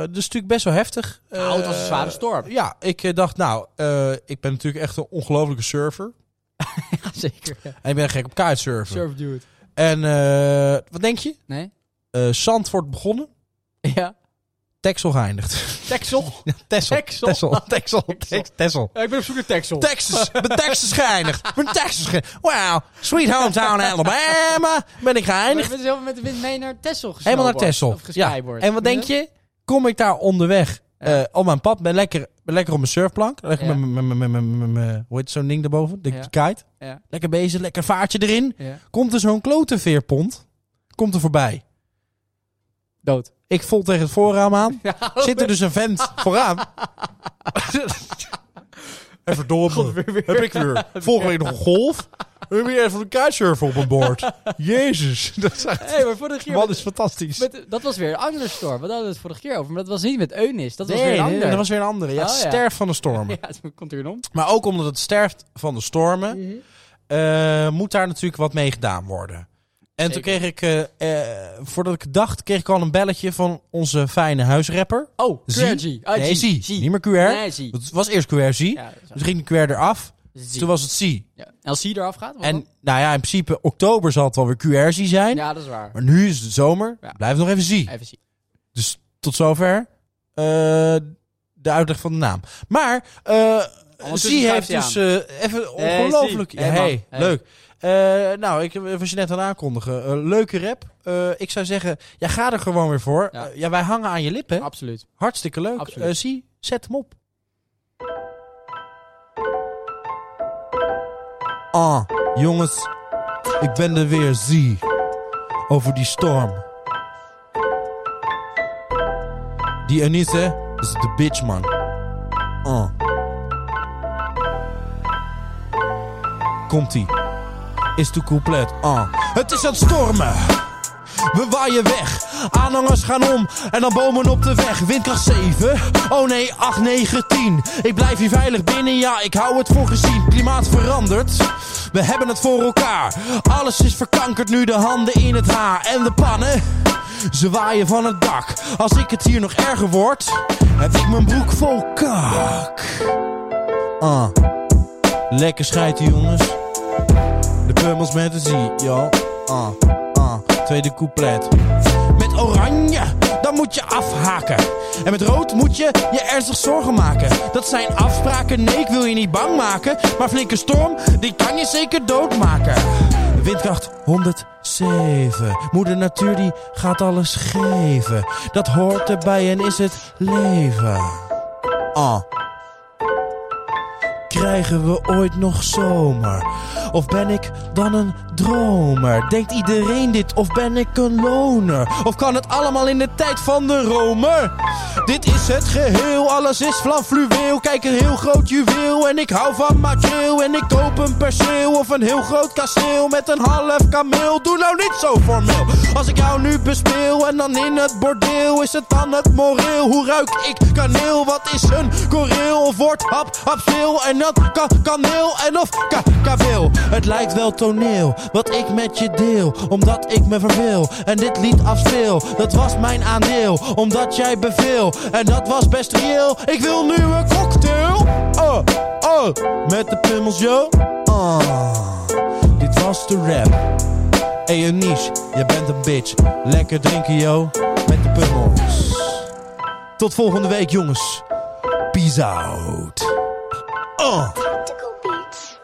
dat is natuurlijk best wel heftig. Nou, het was een Eh, zware storm. Ja, ik eh, dacht nou, eh, ik ben natuurlijk echt een ongelofelijke surfer. Ja, zeker. ja. En ik ben gek op kitesurfen. Surf dude. En eh, wat denk je? Nee? Eh Zand wordt begonnen, Ja. Texel geëindigd. [LAUGHS] Texel. Ja, Texel. Texel. [LAUGHS] Texel. Texel. Tex- Texel. ik ben op zoek naar Texel. [LAUGHS] Texas, ben Texas geëindigd. Ik Ben Texas geëindigd. Wow, sweet hometown Alabama. Ben ik En ik geëindigd. ben zelf met de wind mee naar Texel Helemaal naar Texel. Of Ja. geskyboard. En wat denk je? Kom ik daar onderweg Ja. eh, op mijn pad? Ben lekker, ben lekker op mijn surfplank. Lekker Ja. met mijn- met mijn- met mijn- met mijn- hoe heet zo'n ding daarboven? De Ja. de kite. Ja. Lekker bezig, lekker vaartje erin. Ja. Komt er zo'n klote veerpont. Komt er voorbij. Dood. Ik vol tegen het voorraam [LAUGHS] aan. Zit er dus een vent vooraan. en verdomme. Heb ik [LAUGHS] weer. Volgende week nog een golf. We hebben hier even een kitesurfer op een [LAUGHS] boord. Jezus. [LAUGHS] Dat is echt... hey, maar vorige keer... Man met- is fantastisch. met- dat was weer een andere storm. Wat hadden we het vorige keer over? Maar dat was niet met Eunice. Dat was weer een ander. dat was weer een andere. Ja, Oh, het ja. sterft van de stormen. [LAUGHS] Ja, het komt er weer om. Maar ook omdat het sterft van de stormen, Mhm. eh, moet daar natuurlijk wat mee gedaan worden. En toen Zeker. kreeg ik, eh, eh, voordat ik het dacht, kreeg ik al een belletje van onze fijne huisrapper. Oh, Zie. QRG. Ah, nee, G. zie. Zie. Niet meer QR. Nee, zie. Het was eerst QR, zie. Ja, dat is Toen ging de QR eraf. waar. Zie. Toen was het zie. Ja. En als zie eraf gaat? wat En dan? nou ja, in principe oktober zal het wel weer QR zie zijn. Oh. Ja, dat is waar. Maar nu is het zomer. Ja. Blijf nog even zie. Even zien. Dus tot zover eh, de uitleg van de naam. Maar eh Zie schuift heeft hij dus eh, even Hey, ongelooflijk... Zie. Ja, Hey, man. hey, Hey. leuk. Eh, nou, ik was je net aan aankondigen. Eh, leuke rap. Eh, ik zou zeggen, ja, ga er gewoon weer voor. Eh, Ja. Ja, wij hangen aan je lippen. Absoluut. Hartstikke leuk. Absoluut. Eh, Zie, zet hem op. Ah, jongens. Ik ben er weer, Zie. Over die storm. Die Anise is de bitch, man. Ah. Komt-ie. is de couplet. Ah. Het is aan het stormen. We waaien weg, aanhangers gaan om en dan bomen op de weg. Windkracht 7, oh nee, 8, 9, 10. Ik blijf hier veilig binnen, ja, ik hou het voor gezien. Klimaat verandert, we hebben het voor elkaar. Alles is verkankerd nu, de handen in het haar en de pannen. Ze waaien van het dak. Als ik het hier nog erger word, heb ik mijn broek vol kak. Ah, lekker schijten jongens. De pummels met een zie, joh. Ah, ah, tweede couplet. Met oranje, dan moet je afhaken. En met rood moet je je ernstig zorgen maken. Dat zijn afspraken, nee, ik wil je niet bang maken. Maar flinke storm, die kan je zeker doodmaken. Windkracht 107. Moeder natuur die gaat alles geven. Dat hoort erbij en is het leven. Ah. Krijgen we ooit nog zomer? Of ben ik dan een dromer? Denkt iedereen dit? Of ben ik een loner? Of kan het allemaal in de tijd van de Romer? Dit is het geheel, alles is van fluweel. Kijk, een heel groot juweel. En ik hou van matreel. En ik koop een perceel of een heel groot kasteel. Met een half kameel. Doe nou niet zo formeel. Als ik jou nu bespeel en dan in het bordeel. Is het dan het moreel? Hoe ruik ik kaneel? Wat is een koreel? Of wordt hap, hap speel? En dat ka kaneel en of ka kaveel. Het lijkt wel toneel, wat ik met je deel. Omdat ik me verveel en dit lied afspeel. Dat was mijn aandeel, omdat jij beveel. En dat was best reëel. Ik wil nu een cocktail. Oh, oh, met de pummels, yo. Ah, dit was de rap. Hey Eunice, jij bent een bitch. Lekker drinken, yo, met de pummels. Tot volgende week, jongens. Peace out. Oh. Tactical Beats.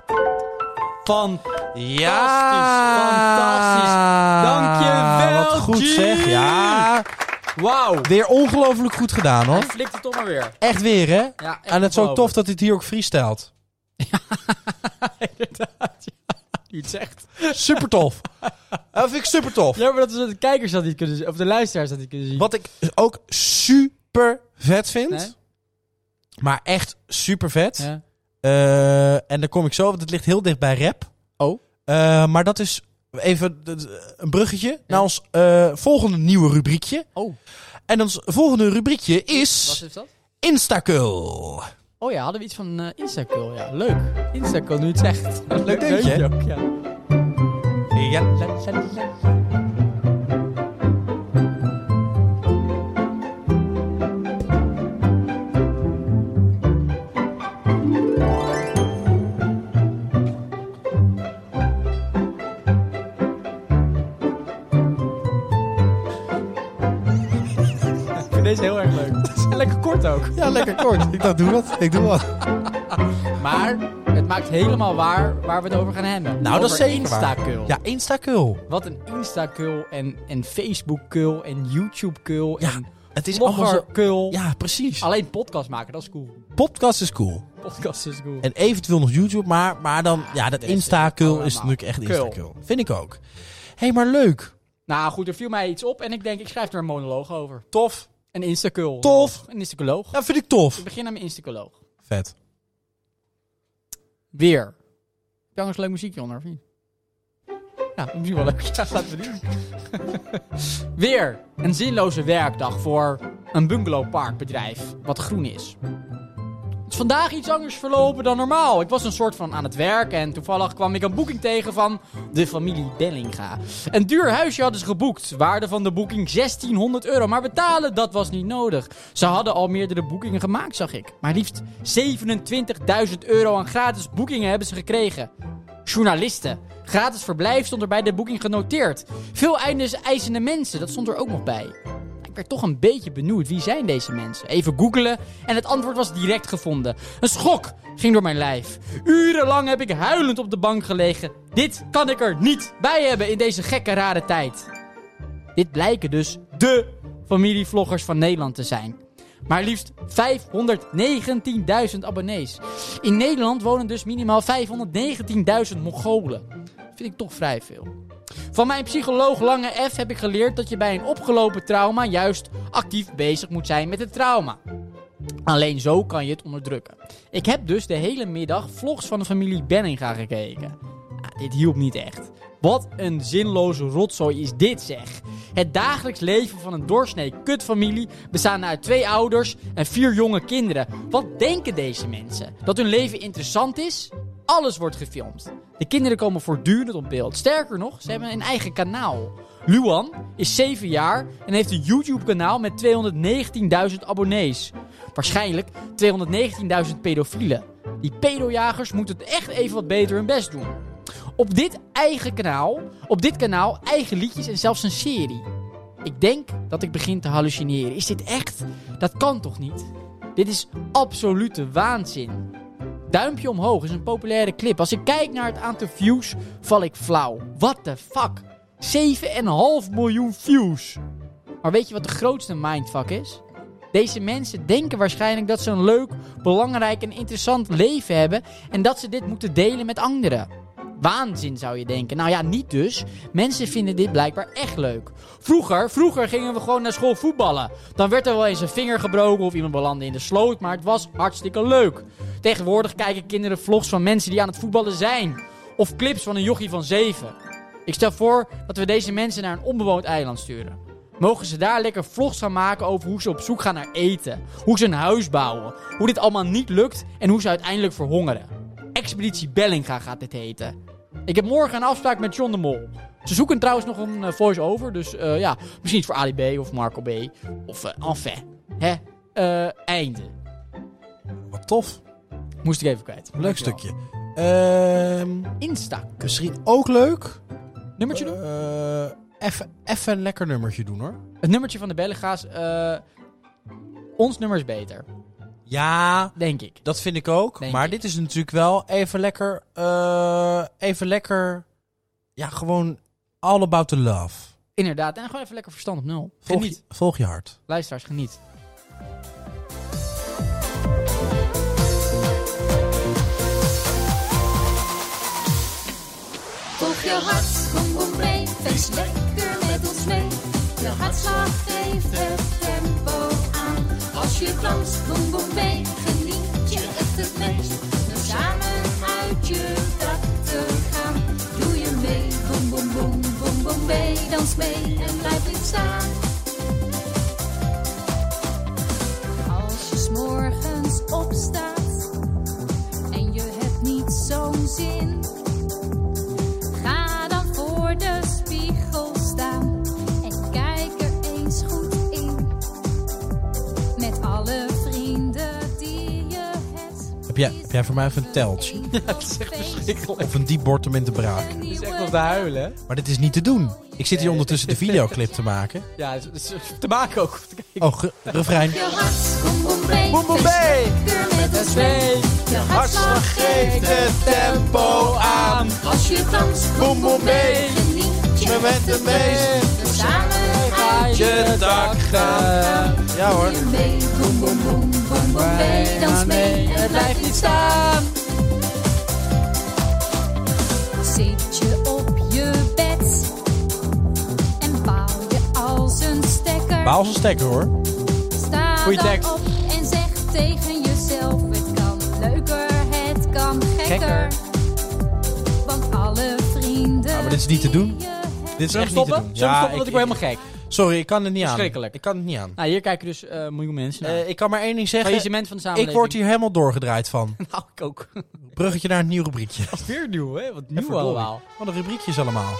Fantastisch, fantastisch. Dankjewel, Wat goed Guy. zeg, ja. Wauw. Weer ongelooflijk goed gedaan, Hij hoor. flikt het toch maar weer. Echt weer, hè? Ja, echt en het is ook ongelooflijk. tof dat dit hier ook freestylt. Inderdaad, ja. Nu het zegt. Super tof. [LAUGHS] dat vind ik super tof. Ja, maar dat is de kijkers dat niet kunnen zien. Of de luisteraars dat niet kunnen zien. Wat ik ook super vet vind. Nee? Maar echt super vet. Ja. Eh, en daar kom ik zo, want het ligt heel dicht bij rap. Oh. Eh, maar dat is even d- d- een bruggetje naar ons eh, volgende nieuwe rubriekje. Oh. En ons volgende rubriekje Wat is is dat? Instacul. Oh ja, hadden we iets van eh Instacul. Ja, leuk. Instacul, nu het zegt. [LAUGHS] Leuk deuntje, hè? ook, ja. Ja. La, la, la, la. Ik vind Deze heel erg leuk. En [LAUGHS] lekker kort ook. ja, lekker kort. ik dacht, doe dat. Ik doe dat. Maar het maakt helemaal waar waar we het over gaan hebben. Nou, dat is Over zeker waar. Instacul. Ja, Instacul. Wat een Insta-kul en, en Facebook-kul en YouTube-kul Ja, en Het is allemaal zo... blogger-kul. Ja, precies. Alleen podcast maken, dat is cool. Podcast is cool. Podcast is cool. En eventueel nog YouTube, maar, maar dan... Ja, dat Deze Instacul allemaal. is natuurlijk echt Kul. Instacul. Vind ik ook. hey, maar leuk. Nou goed, er viel mij iets op en ik denk, ik schrijf er een monoloog over. Tof. Een Insta-kul. Tof. Een Instacoloog. Ja, vind ik tof. Ik begin aan mijn Instacoloog. Vet. Weer. Heb je anders leuk muziekje onder, of niet? Ja, misschien wel leuk. Ja, laten we doen. [LAUGHS] Weer een zinloze werkdag voor een bungalowparkbedrijf wat groen is. Het is vandaag iets anders verlopen dan normaal. Ik was een soort van aan het werk en toevallig kwam ik een boeking tegen van de familie Bellinga. Een duur huisje hadden ze geboekt. Waarde van de boeking 1600 euro. Maar betalen, dat was niet nodig. Ze hadden al meerdere boekingen gemaakt, zag ik. Maar liefst 27.000 euro aan gratis boekingen hebben ze gekregen. Journalisten. Gratis verblijf stond er bij de boeking genoteerd. Veel eindes eisende mensen, dat stond er ook nog bij. Ik werd toch een beetje benieuwd. Wie zijn deze mensen? Even googelen en het antwoord was direct gevonden. Een schok ging door mijn lijf. Urenlang heb ik huilend op de bank gelegen. Dit kan ik er niet bij hebben in deze gekke rare tijd. Dit blijken dus de familievloggers van Nederland te zijn. Maar liefst 519.000 abonnees. In Nederland wonen dus minimaal 519.000 Mongolen. Vind ik toch vrij veel. Van mijn psycholoog Lange F heb ik geleerd dat je bij een opgelopen trauma juist actief bezig moet zijn met het trauma. Alleen zo kan je het onderdrukken. Ik heb dus de hele middag vlogs van de familie Benninga gekeken. dit hielp niet echt. Wat een zinloze rotzooi is dit zeg. Het dagelijks leven van een doorsnee kutfamilie bestaat uit twee ouders en vier jonge kinderen. Wat denken deze mensen? Dat hun leven interessant is? Alles wordt gefilmd. De kinderen komen voortdurend op beeld. Sterker nog, ze hebben een eigen kanaal. Luan is 7 jaar en heeft een YouTube-kanaal met 219.000 abonnees. Waarschijnlijk 219.000 pedofielen. Die pedojagers moeten het echt even wat beter hun best doen. Op dit eigen kanaal, op dit kanaal eigen liedjes en zelfs een serie. Ik denk dat ik begin te hallucineren. Is dit echt? Dat kan toch niet? Dit is absolute waanzin. Duimpje omhoog is een populaire clip. Als ik kijk naar het aantal views, val ik flauw. What the fuck? 7,5 miljoen views. Maar weet je wat de grootste mindfuck is? Deze mensen denken waarschijnlijk dat ze een leuk, belangrijk en interessant leven hebben en dat ze dit moeten delen met anderen. Waanzin zou je denken. Nou ja, niet dus. Mensen vinden dit blijkbaar echt leuk. Vroeger, vroeger gingen we gewoon naar school voetballen. Dan werd er wel eens een vinger gebroken of iemand belandde in de sloot, maar het was hartstikke leuk. Tegenwoordig kijken kinderen vlogs van mensen die aan het voetballen zijn. Of clips van een jochie van 7. Ik stel voor dat we deze mensen naar een onbewoond eiland sturen. Mogen ze daar lekker vlogs van maken over hoe ze op zoek gaan naar eten, hoe ze een huis bouwen, hoe dit allemaal niet lukt en hoe ze uiteindelijk verhongeren. Expeditie Bellinga gaat dit heten. Ik heb morgen een afspraak met John de Mol. Ze zoeken trouwens nog een eh, voice-over, dus eh, ja, misschien iets voor Ali B of Marco B. Of eh enfin, hè, Eh, einde. Wat tof. Moest ik even kwijt. Leuk stukje. Ehm, Insta. misschien ook leuk. Nummertje doen? Eh, Even even een lekker nummertje doen hoor. Het nummertje van de Bellinga's. eh, ons nummer is beter, Ja, denk ik. dat vind ik ook. Denk maar ik. dit is natuurlijk wel even lekker. eh, even lekker. Ja, gewoon all about the love. Inderdaad, en gewoon even lekker verstand op nul. Volg, Geniet. Je, volg je hart. Luisteraars, [LAUGHS] geniet. Volg je hart, kom kom mee, feest lekker met ons mee. Je hartslag geeft het tempo aan. Als je danst, kom kom mee, geniet je echt het meest. Door samen uit je dak te gaan. Doe je mee, kom kom kom kom kom mee, dans mee en blijf niet staan. Als je 's morgens opstaat en je hebt niet zo'n zin. Ga dan voor de spiegel staan en kijk er eens goed in. Met alle vrienden die je hebt. Heb jij, heb jij voor mij even een teltje? [LAUGHS] dat is echt Of een diepbord te braak? Het is echt wat te huilen, hè? Maar dit is niet te doen. Ik zit hier ondertussen de videoclip te [LAUGHS] maken. Ja, het is, het is te maken ook. Oh, ge- refrein. Je hart, kom, kom mee. Boem, boem, bee. Keur met ons mee. Je hartslag geeft het tempo aan. Als je danst, boem, boem, mee. Geniet je met de meest. Samen ga je dak gaan. Ja hoor. mee. Boem, boem, boem, boem, boem, mee. Dans mee, het blijft niet staan. Zit je op je bed en bouw je als een stekker. Baal zijn stekker hoor. Sta Goeie dan tekst. op en zeg tegen jezelf: het kan leuker, het kan gekker. Ah, Gekker. Want alle vrienden. maar dit is niet te die doen. je hebt- Dit Zullen is we echt niet te stoppen? doen. Zullen we stoppen? Want ik- ik word helemaal gek. Sorry, ik kan het niet aan. Verschrikkelijk. Ik kan het niet aan. Nou, hier kijken dus eh miljoen mensen naar. Eh, ik kan maar één ding zeggen. Faillissement van de Ik samenleving. word hier helemaal doorgedraaid van. [LAUGHS] Nou, ik ook. Bruggetje naar een nieuw rubriekje. [LAUGHS] Weer nieuw, hè? Wat Verdorie. Wat een rubriekjes allemaal.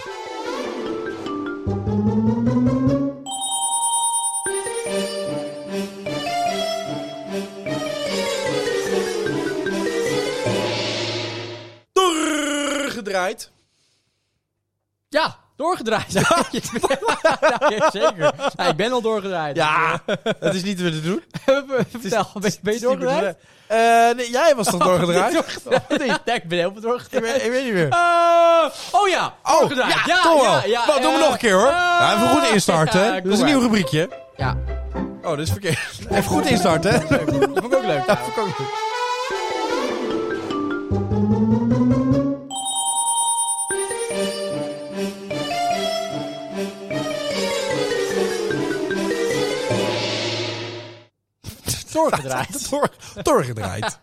Doorgedraaid. Ja, doorgedraaid. [LAUGHS] Ja, ja, zeker. Ja, ik ben al doorgedraaid. Ja, dat is niet wat we doen. [LAUGHS] Vertel, ben, je- ben je doorgedraaid? Eh, nee, jij was toch [LAUGHS] doorgedraaid? [LAUGHS] Ja, ik ben helemaal ik, doorgedraaid. weet, ik weet niet meer. Eh, oh ja! Oh, doorgedraaid. ja, Ja, toch wel. ja, ja, Wat, doen we eh, nog een keer Ah, hoor. eh, ja, even goed instarten. ja, hè. kom dat is een maar. nieuw rubriekje. Ja, Oh, dat is verkeerd. Even goed instarten. hè. dat vond ik ook [LAUGHS] leuk. Even kijken. [LAUGHS] doorgedraaid. Door, doorgedraaid.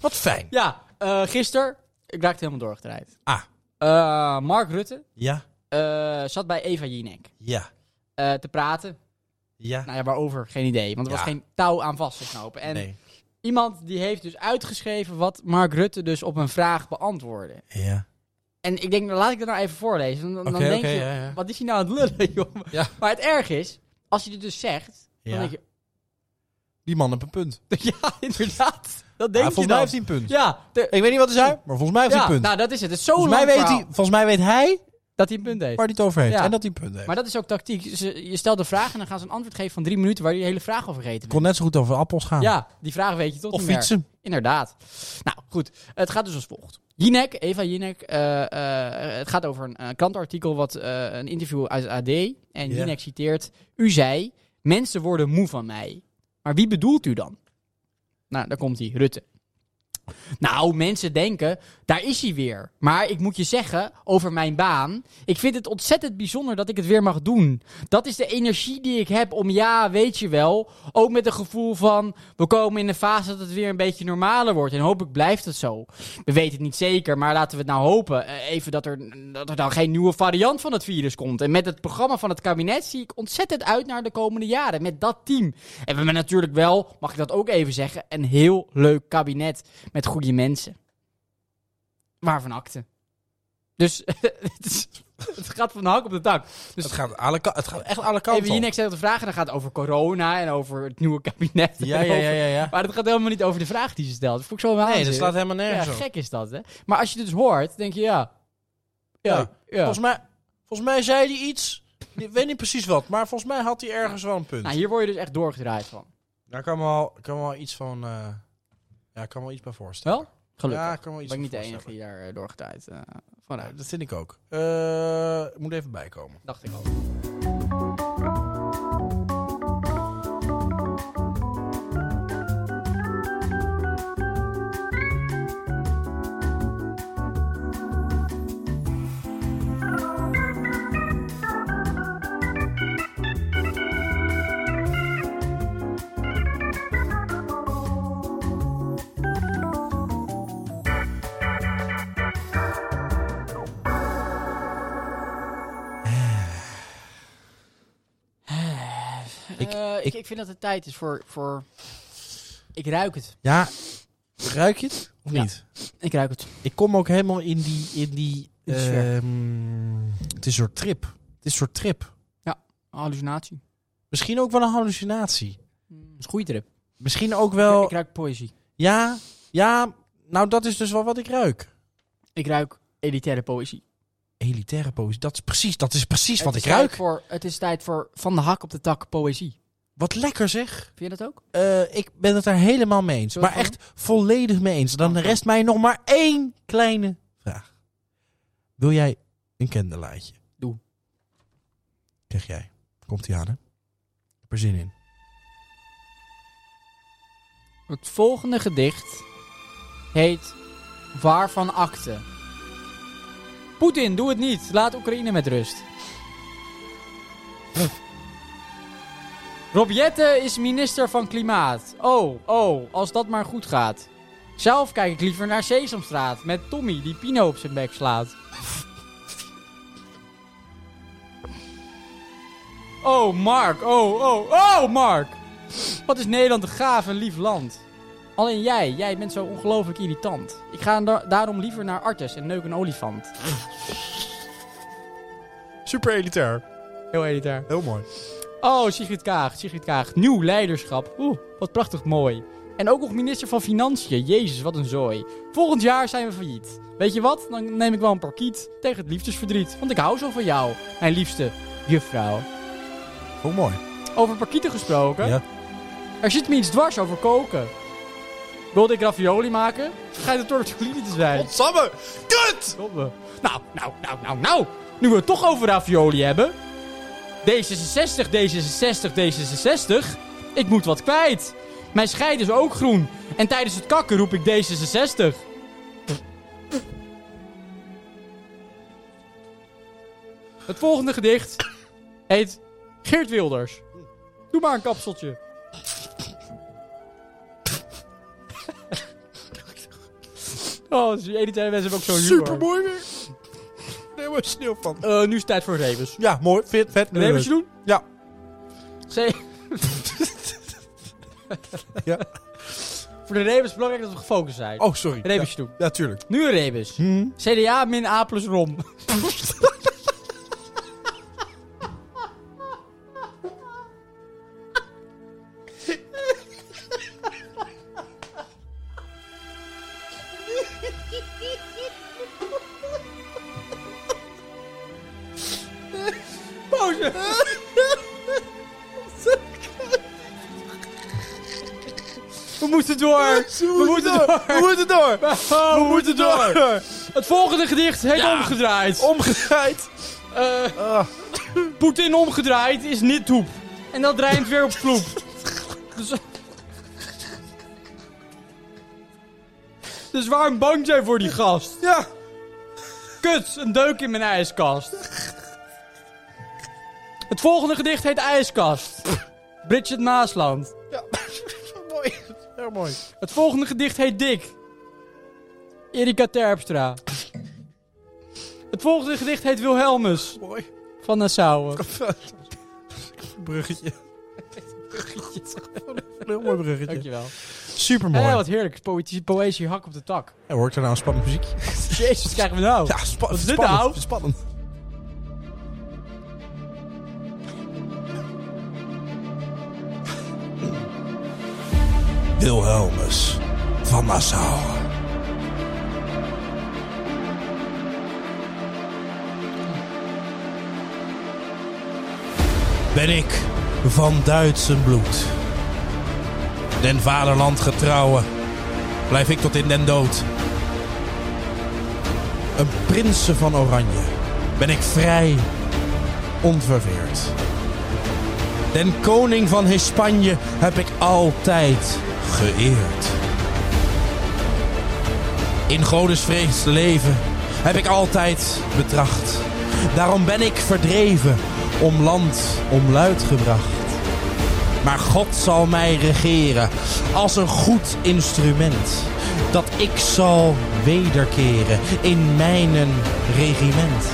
Wat fijn. Ja, eh gisteren, ik raakte helemaal doorgedraaid. Ah, Eh, Mark Rutte Ja, eh, zat bij Eva Jinek ja, eh, te praten. ja. Nou ja, waarover? Geen idee. Want er Ja. was geen touw aan vast te knopen. En nee. iemand die heeft dus uitgeschreven wat Mark Rutte dus op een vraag beantwoordde. Ja. En ik denk, laat ik dat nou even voorlezen. Dan, dan Oké, denk oké, je, ja, ja. wat is hij nou aan het lullen, [LAUGHS] joh? Ja. Maar het erg is, als je dit dus zegt, Ja. dan denk je, Die man heeft een punt. [LAUGHS] ja, inderdaad. Dat Ja, denk je volgens mij dan. heeft hij een punt. Ja, de- Ik weet niet wat hij zei, maar volgens mij heeft hij ja een punt. nou dat is het. Het is zo'n volgens, mij lang weet verhaal hij, volgens mij weet hij dat hij een punt heeft. waar hij het over heeft. Ja. En dat hij een punt heeft. Maar dat is ook tactiek. Ze- je stelt een vraag en dan gaan ze een antwoord geven van drie minuten waar je de hele vraag al vergeten Het kon bent. net zo goed over appels gaan. Ja, die vraag weet je toch Of niet meer. fietsen. Inderdaad. Nou, goed. Het gaat dus als volgt. Jinek, Eva Jinek, eh, eh, het gaat over een eh, krantenartikel, wat, eh, een interview uit het AD. En Jinek citeert, u zei, mensen worden moe van mij. Maar wie bedoelt u dan? Nou, daar komt hij, Rutte. Nou, mensen denken, daar is hij weer. Maar ik moet je zeggen, over mijn baan. Ik vind het ontzettend bijzonder dat ik het weer mag doen. Dat is de energie die ik heb om, ja, weet je wel. Ook met het gevoel van, we komen in een fase dat het weer een beetje normaler wordt. En hopelijk blijft het zo. We weten het niet zeker, maar laten we het nou hopen. Eh, Even dat er, dat er dan geen nieuwe variant van het virus komt. En met het programma van het kabinet zie ik ontzettend uit naar de komende jaren. Met dat team. En we hebben natuurlijk wel, mag ik dat ook even zeggen, een heel leuk kabinet met goede mensen. Waarvan akte. Dus [LAUGHS] het, is- het gaat van de hak op de tak. Dus Het gaat, alle, ka- het gaat echt alle kanten even hier niks aan te vragen. Dan gaat het over corona en over het nieuwe kabinet. op. Ja, en ja, over- ja, ja, ja. Maar dat gaat helemaal niet over de vraag die ze stelt. Dat vond ik zo Nee, wel dat waanzinnig. slaat helemaal nergens Ja, op. gek is dat, hè? Maar als je dit dus hoort, denk je, ja. Ja, Ja. ja. Volgens, mij, volgens mij zei hij iets. Ik weet niet precies wat, maar volgens mij had hij ergens wel een punt. Nou, hier word je dus echt doorgedraaid van. Daar kan wel, kan wel iets van. eh, ja, ik kan wel iets bij voorstellen. Wel? Gelukkig. Ja, ik kan wel iets ben ik niet de bij enige voorstellen. die daar eh, doorgedraaid eh, van Ja, uit. dat vind ik ook. Eh, ik moet even bijkomen. Dacht ik al. Ik- Ik, ik- ik, ik vind dat het tijd is voor, voor... Ik ruik het. Ja, ruik je het of Ja. niet? Ik ruik het. Ik kom ook helemaal in die. In die In de sfeer. ehm, het is een soort trip. Het is een soort trip. Oh, Hallucinatie. Misschien ook wel een hallucinatie. Mm, is een goede trip. Misschien ook Ik, wel. ik ruik poëzie. Ja, ja, nou dat is dus wel wat ik ruik. Ik ruik elitaire poëzie. Elitaire poëzie, dat is precies, dat is precies wat Het ik is tijd ruik. Voor, het is tijd voor van de hak op de tak poëzie. Wat lekker zeg. Vind je dat ook? Eh, ik ben het daar helemaal mee eens. Zullen we Maar het echt volledig mee eens. Dan rest mij nog maar één kleine vraag. Wil jij een candelaatje? Doe. Zeg jij. Komt ie aan, hè? Ik heb er zin in. Het volgende gedicht heet Waarvan akte? Poetin, doe het niet. Laat Oekraïne met rust. [LAUGHS] Rob Jette is minister van Klimaat. Oh, oh, als dat maar goed gaat. Zelf kijk ik liever naar Sesamstraat met Tommy die Pino op zijn bek slaat. [LAUGHS] Oh, Mark, oh, oh, oh, Mark! Wat is Nederland een gaaf en lief land. Alleen jij, jij bent zo ongelooflijk irritant. Ik ga da- daarom liever naar Artes en neuk een olifant. Super elitair. Heel elitair. Heel mooi. Oh, Sigrid Kaag, Sigrid Kaag. Nieuw leiderschap. Oeh, wat prachtig mooi. En ook nog minister van Financiën. Jezus, wat een zooi. Volgend jaar zijn we failliet. Weet je wat? Dan neem ik wel een parkiet tegen het liefdesverdriet. Want ik hou zo van jou, mijn liefste juffrouw. Ook mooi. Over parkieten gesproken. Ja. Er zit me iets dwars over koken. Wilde ik ravioli maken? Schijnt het tortellini te zijn. Godsamme! Kut! Godverdomme. Nou, nou, nou, nou, nou. Nu we het toch over ravioli hebben. D66, D66, D66. Ik moet wat kwijt. Mijn scheid is ook groen. En tijdens het kakken roep ik D66. Het volgende gedicht heet Geert Wilders. Doe maar een kapseltje. Oh, die elitaire mensen hebben ook zo'n humor. Super mooi weer. een sneeuw van. Eh, nu is het tijd voor Revens. Ja, mooi. Fit, vet. Revensje doen? Ja. Zee- [LAUGHS] Ja. voor de Revens is belangrijk dat we gefocust zijn. Oh, sorry. Ja, Revensje doen. ja, tuurlijk. Nu Revens. Hm. CDA min A plus ROM. Pauze. We moeten door. We moeten door. We moeten door. Oh, we moeten door. Het volgende gedicht heet omgedraaid. Omgedraaid. Eh, Ah. Poetin omgedraaid is niet toep. En dat rijmt weer op vloep. Dus, dus waarom bang zijn voor die gast? Ja. Kut, een deuk in mijn ijskast. Het volgende gedicht heet IJskast. Bridget Maasland. ja. [LAUGHS] mooi. Heel mooi. Het volgende gedicht heet Dik. Erika Terpstra. Het volgende gedicht heet Wilhelmus Mooi. van Nassau. [LAUGHS] Bruggetje. Heel mooi bruggetje. [LAUGHS] Dankjewel. Supermooi. Hé, wat heerlijk. Poëzie, poëzie hak op de tak. En hoort er nou een spannend muziekje? Jezus, wat krijgen we nou? Ja, spa is dit spannend. nou? Spannend. Wilhelmus van Nassau. Ben ik van Duitsen bloed. Den vaderland getrouwen. Blijf ik tot in den dood een prinsen van Oranje, ben ik vrij, onverweerd. Den koning van Hispanje heb ik altijd geëerd. In godesvrees te leven heb ik altijd betracht. Daarom ben ik verdreven, om land, om luid gebracht. Maar God zal mij regeren als een goed instrument. Dat ik zal wederkeren in mijn regiment.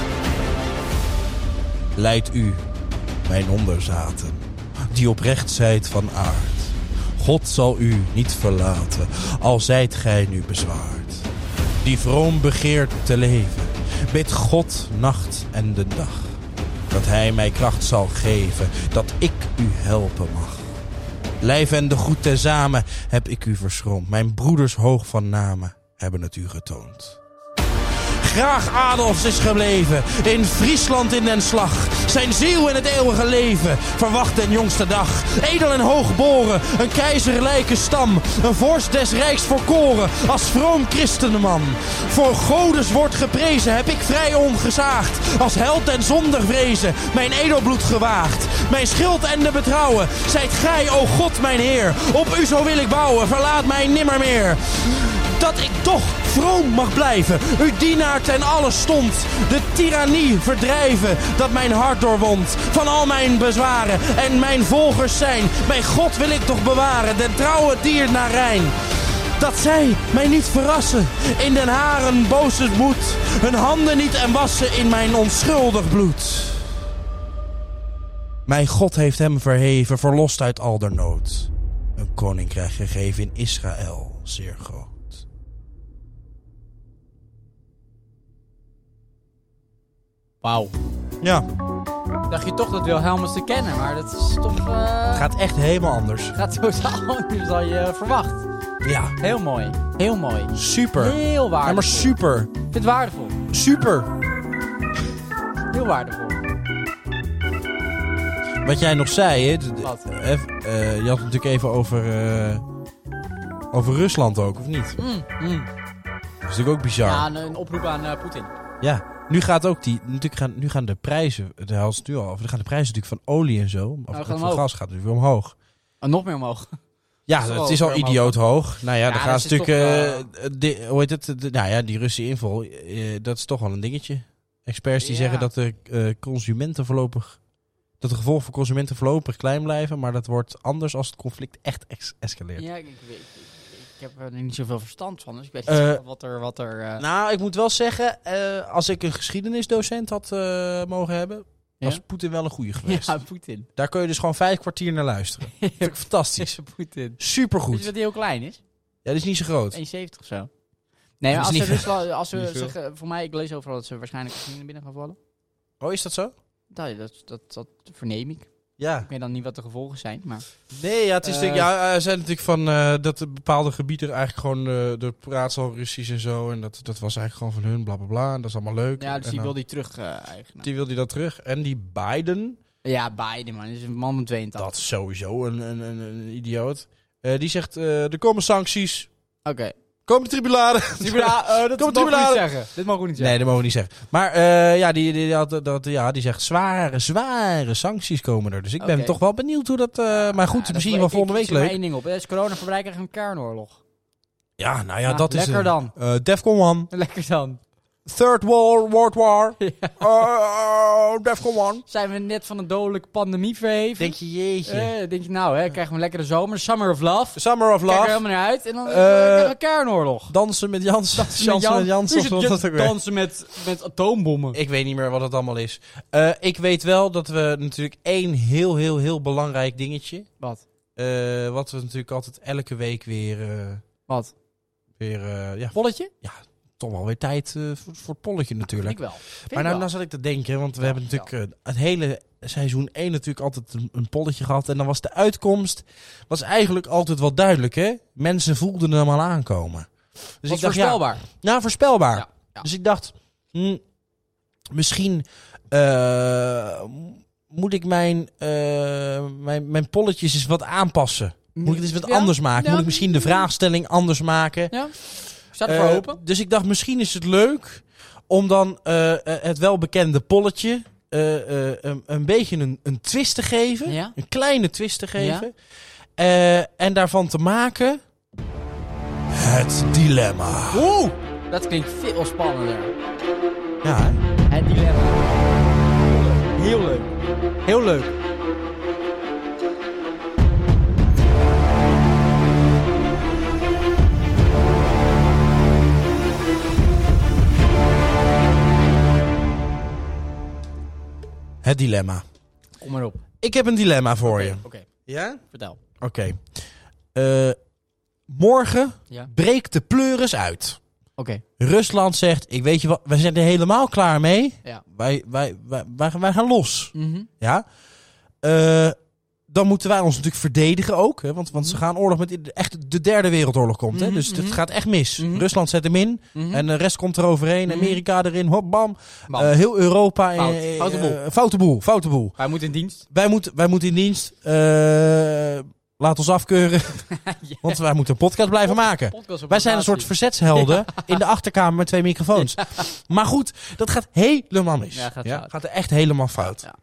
Leid u, mijn onderzaten, die oprecht zijt van aard. God zal u niet verlaten, al zijt gij nu bezwaard. Die vroom begeert te leven, bid God nacht en de dag dat hij mij kracht zal geven, dat ik u helpen mag. Lijf en de goed tezamen heb ik u verschroomd. Mijn broeders hoog van namen hebben het u getoond. Graag Adolfs is gebleven, in Friesland in den slag. Zijn ziel in het eeuwige leven, verwacht den jongste dag. Edel en hoogboren, een keizerlijke stam. Een vorst des rijks verkoren, als vroom christenman. Voor godes wordt geprezen, heb ik vrij ongezaagd. Als held en zonder vrezen, mijn edelbloed gewaagd. Mijn schild en de betrouwen, zijt gij, o God mijn Heer. Op u zo wil ik bouwen, verlaat mij nimmermeer dat ik toch vroom mag blijven. Uw dienaar ten alle stond. De tirannie verdrijven dat mijn hart doorwondt. Van al mijn bezwaren en mijn volgers zijn. Mijn God wil ik toch bewaren, den trouwe dier naar Rijn. Dat zij mij niet verrassen in den haren boze moed. Hun handen niet en wassen in mijn onschuldig bloed. Mijn God heeft hem verheven, verlost uit al der nood. Een koninkrijk gegeven in Israël, zeer groot. Wauw. Ja, Dacht je toch dat Wilhelmus te kennen, maar dat is toch... eh, het gaat echt helemaal anders. gaat totaal [LAUGHS] anders dan je verwacht. Ja, Heel mooi. Heel mooi. super. Heel waardevol. Ja, maar super. super. Ik vind het waardevol. Super. Heel waardevol. Wat jij nog zei, hè? d- d- Wat? eh, eh, je had het natuurlijk even over, eh, over Rusland ook, of niet? Dat Mm, mm. is natuurlijk ook bizar. Ja, Ja. een, een oproep aan eh, Poetin. Nu gaat ook die, natuurlijk gaan, nu gaan de prijzen, daar hadden ze het nu al over, dan gaan de prijzen natuurlijk van olie en zo, of Nou, gaan van omhoog. gas gaat natuurlijk weer omhoog. Oh, nog meer omhoog. Ja, Zo het is al ver omhoog. idioot hoog. Nou ja, Ja, dan dat gaan ze is natuurlijk... toch, eh, de- hoe heet het? De- nou ja, die Russische inval, eh, dat is toch wel een dingetje. Experts die Ja. zeggen dat de eh, consumenten voorlopig... Dat de gevolgen voor consumenten voorlopig klein blijven, maar dat wordt anders als het conflict echt ex- escaleert. Ja, ik, ik, ik, ik- ik heb er niet zoveel verstand van, dus ik weet Eh, niet wat er... Wat er eh, Nou, ik moet wel zeggen, eh, als ik een geschiedenisdocent had eh, mogen hebben, was Ja? Poetin wel een goede geweest. [LAUGHS] ja, Poetin. Daar kun je dus gewoon vijf kwartier naar [LAUGHS] luisteren. Vind ik fantastisch. Poetin. Weet je Supergoed. dat hij heel klein is? Ja, dat is niet zo groot. 1,70 of zo. Nee, maar Dat als is ze, niet- Rusland, als [LAUGHS] ze niet veel. zeggen, voor mij, ik lees overal dat ze waarschijnlijk Oekraïne binnen gaan vallen. Oh, is dat zo? Dat, dat, dat, dat verneem ik. Ja. Ik weet dan niet wat de gevolgen zijn, maar... Nee, ja, het is Eh, natuurlijk, ja, er zijn natuurlijk van eh, dat de bepaalde gebieden eigenlijk gewoon eh de praat al Russisch en zo. En dat, dat was eigenlijk gewoon van hun, bla bla bla. En dat is allemaal leuk. Ja, dus En die dan- wil die terug eh, eigenlijk. die wil die dat terug. En die Biden, Ja, Biden, man. is een man van 82. dat is sowieso een, een, een, een idioot. Eh, die zegt, eh, er komen sancties, Oké. [LAUGHS] komen tribunalen. [LAUGHS] Tribunalen, dat Komt mogen we niet tribunalen. zeggen. Dit mogen we niet Nee, zeggen. dat mogen we niet zeggen. Maar eh, ja, die, die, die had, dat, ja, die zegt zware, zware sancties komen er. Dus ik ben Oké. toch wel benieuwd hoe dat... eh, maar goed, Ja, misschien dat- wel volgende ik- ik week zie maar leuk. één ding op. Als corona verbruikt krijgen we [LAUGHS] een kernoorlog. Ja, nou ja, Nou, dat is... lekker eh, dan. eh, Defcon 1, Lekker dan. Third War, World [LAUGHS] War, Eh, Defcon 1. Zijn we net van een dodelijke pandemie verheven? Denk je, jeetje. Eh, denk je, nou hè, krijgen we een lekkere zomer. Summer of Love. Summer of Kijk er Love, helemaal naar uit. En dan eh, Eh, krijgen we een kernoorlog. Dansen met Jans. Dansen met Jans. Hoe of is wat het dat ook weer. dansen met, met atoombommen. Ik weet niet meer wat het allemaal is. Eh, ik weet wel dat we natuurlijk één heel, heel, heel belangrijk dingetje... Wat? eh, wat we natuurlijk altijd elke week weer... eh, Wat? weer eh, ja, Polletje? toch wel weer tijd eh, voor, voor het polletje natuurlijk. Ik wel. Vind ik maar nou, wel. nou zat ik te denken, want we Ja, hebben natuurlijk eh, het hele seizoen 1 natuurlijk altijd een, een polletje gehad. En dan was de uitkomst was eigenlijk altijd wel duidelijk, hè? Mensen voelden hem al aankomen. Dus Was ik dacht, ja, voorspelbaar. nou, voorspelbaar. Ja, ja. Dus ik dacht, hm, misschien eh, moet ik mijn, eh, mijn, mijn polletjes eens wat aanpassen. Moet ik het eens wat Ja? anders maken? Ja. Moet ik misschien de vraagstelling anders maken? Staat ervoor Eh, open? Dus ik dacht, misschien is het leuk om dan eh, eh, het welbekende polletje eh, eh, een, een beetje een, een twist te geven. Ja. Een kleine twist te geven. Eh, en daarvan te maken... Het dilemma. Oeh! Dat klinkt veel spannender. Ja, hè? Het dilemma. Heel leuk. Heel leuk. het dilemma. Kom maar op. Ik heb een dilemma voor Oké, je. oké, Ja? vertel. Oké. Eh, morgen Ja. breekt de pleuris uit. Oké. Rusland zegt, ik weet je wat, wij zijn er helemaal klaar mee. Ja. Wij, wij, wij, wij, wij gaan los. Mhm. Ja. Eh, dan moeten wij ons natuurlijk verdedigen ook. Hè? Want, want ze gaan oorlog met... Echt de derde wereldoorlog komt. Hè? Mhm, Dus het mhm. gaat echt mis. Mhm. Rusland zet hem in. Mhm. En de rest komt er overheen. Mhm. Amerika erin. Hop, bam. Bam. Eh, heel Europa. Fout. eh, eh, Foute boel. eh, foute boel. Foute boel. Hij moet in dienst. Wij, moeten wij moeten in dienst. Eh, laat ons [LAUGHS] afkeuren. Want wij moeten een podcast blijven maken. Podcast op Wij zijn een soort locatie. [LAUGHS] verzetshelden in de achterkamer met twee microfoons. Maar goed, dat gaat helemaal mis. Ja, gaat fout. er echt helemaal fout. Ja.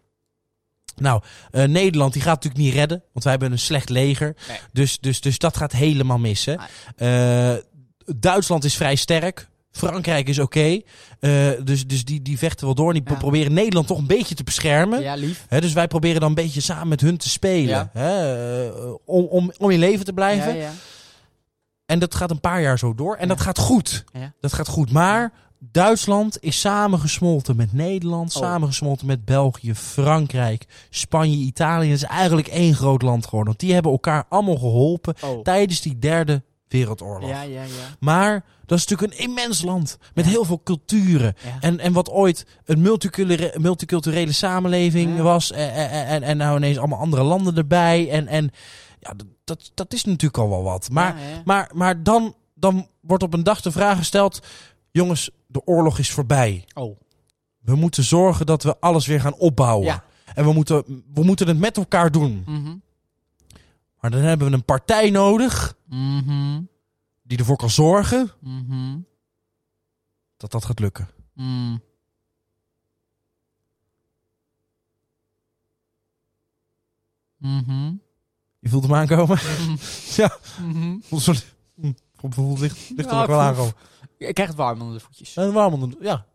Nou, eh, Nederland die gaat natuurlijk niet redden, want wij hebben een slecht leger. Nee. Dus, dus, dus dat gaat helemaal missen. Eh, Duitsland is vrij sterk. Frankrijk is oké. Eh, dus dus die, die vechten wel door. En die Ja. proberen Nederland toch een beetje te beschermen. Ja, lief. Hè, dus wij proberen dan een beetje samen met hun te spelen. Ja. Hè, eh, om, om, om in leven te blijven. Ja, ja. En dat gaat een paar jaar zo door. En dat Ja. gaat goed. Ja. Dat gaat goed. Maar Duitsland is samengesmolten met Nederland, Oh. samengesmolten met België, Frankrijk, Spanje, Italië. Het is eigenlijk één groot land geworden. Want die hebben elkaar allemaal geholpen Oh. tijdens die derde wereldoorlog. Ja, ja, ja. Maar dat is natuurlijk een immens land met Ja. heel veel culturen. Ja. En, en wat ooit een multiculturele, multiculturele samenleving Ja. was. eh, eh, En, en nou ineens allemaal andere landen erbij. En, en ja, dat- dat, dat is natuurlijk al wel wat. Maar Ja, ja. maar, maar dan, dan wordt op een dag de vraag gesteld: jongens, de oorlog is voorbij. Oh. We moeten zorgen dat we alles weer gaan opbouwen. Ja. En we moeten, we moeten het met elkaar doen. Mhm. Maar dan hebben we een partij nodig Mhm. die ervoor kan zorgen Mhm. dat dat gaat lukken. Mm. Mhm. Je voelt hem aankomen? Mm. [LAUGHS] Mhm. Een soort- hm, Bijvoorbeeld ligt, ligt er Ja, ook wel ik aankomen. Ik krijg het warm onder de voetjes. En waarom? dan- Ja.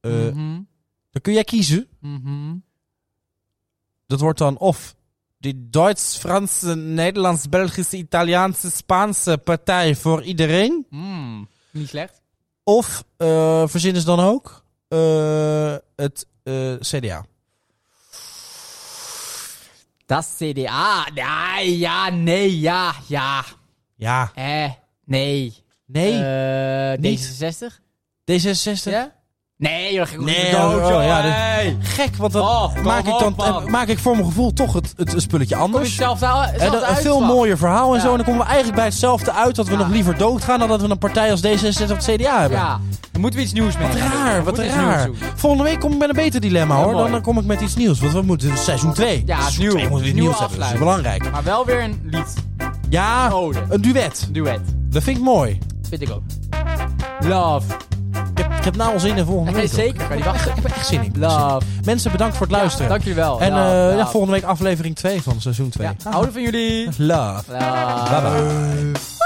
Eh, Mhm. Dan kun jij kiezen. Mhm. Dat wordt dan of Die Duits-Franse, Nederlands, Belgische, Italiaanse, Spaanse partij voor iedereen. Mm, Niet slecht. Of eh, verzinnen ze dan ook eh, het eh, CDA. Dat CDA. Ja, ja, nee, ja, ja. Ja. Eh, nee. Nee. Eh, niet. D66? D66. Ja? Nee, joh, gek Nee, nee, dood, oh, joh. ja, dit- hey. Gek, want dan Oh, kom maak ik dan op, man. eh, maak ik voor mijn gevoel toch het, het spulletje Kom je anders. zelf daar En zelf een uit, veel man. mooier verhaal en Ja. zo. En dan komen we eigenlijk bij hetzelfde uit dat we Ja. nog liever doodgaan dan dat we een partij als D66 of het CDA hebben. Ja, dan moeten we iets nieuws mee. Wat gaan doen. raar, We wat moeten iets raar. nieuws doen. Volgende week kom ik met een beter dilemma Ja, hoor. Dan, mooi. eh, kom ik met iets nieuws. Want we moeten seizoen 2. Ja, seizoen nieuw. 2 moeten we iets Nieuwe nieuws hebben. Dat is afsluiting. belangrijk. Maar wel weer een lied. Ja, Eh. Ode. een duet. Duet. Dat vind ik mooi. Vind ik ook. Love. Ik heb, ik heb nou al zin in volgende Nee, week. ook. [LAUGHS] zeker. Kan niet [LAUGHS] wachten. Ik heb echt zin in. Love. Mensen, bedankt voor het luisteren. Dank jullie wel. en Love, eh, ja, love. volgende week aflevering 2 van seizoen 2. Ja, houden van jullie. Love. Love. Bye bye.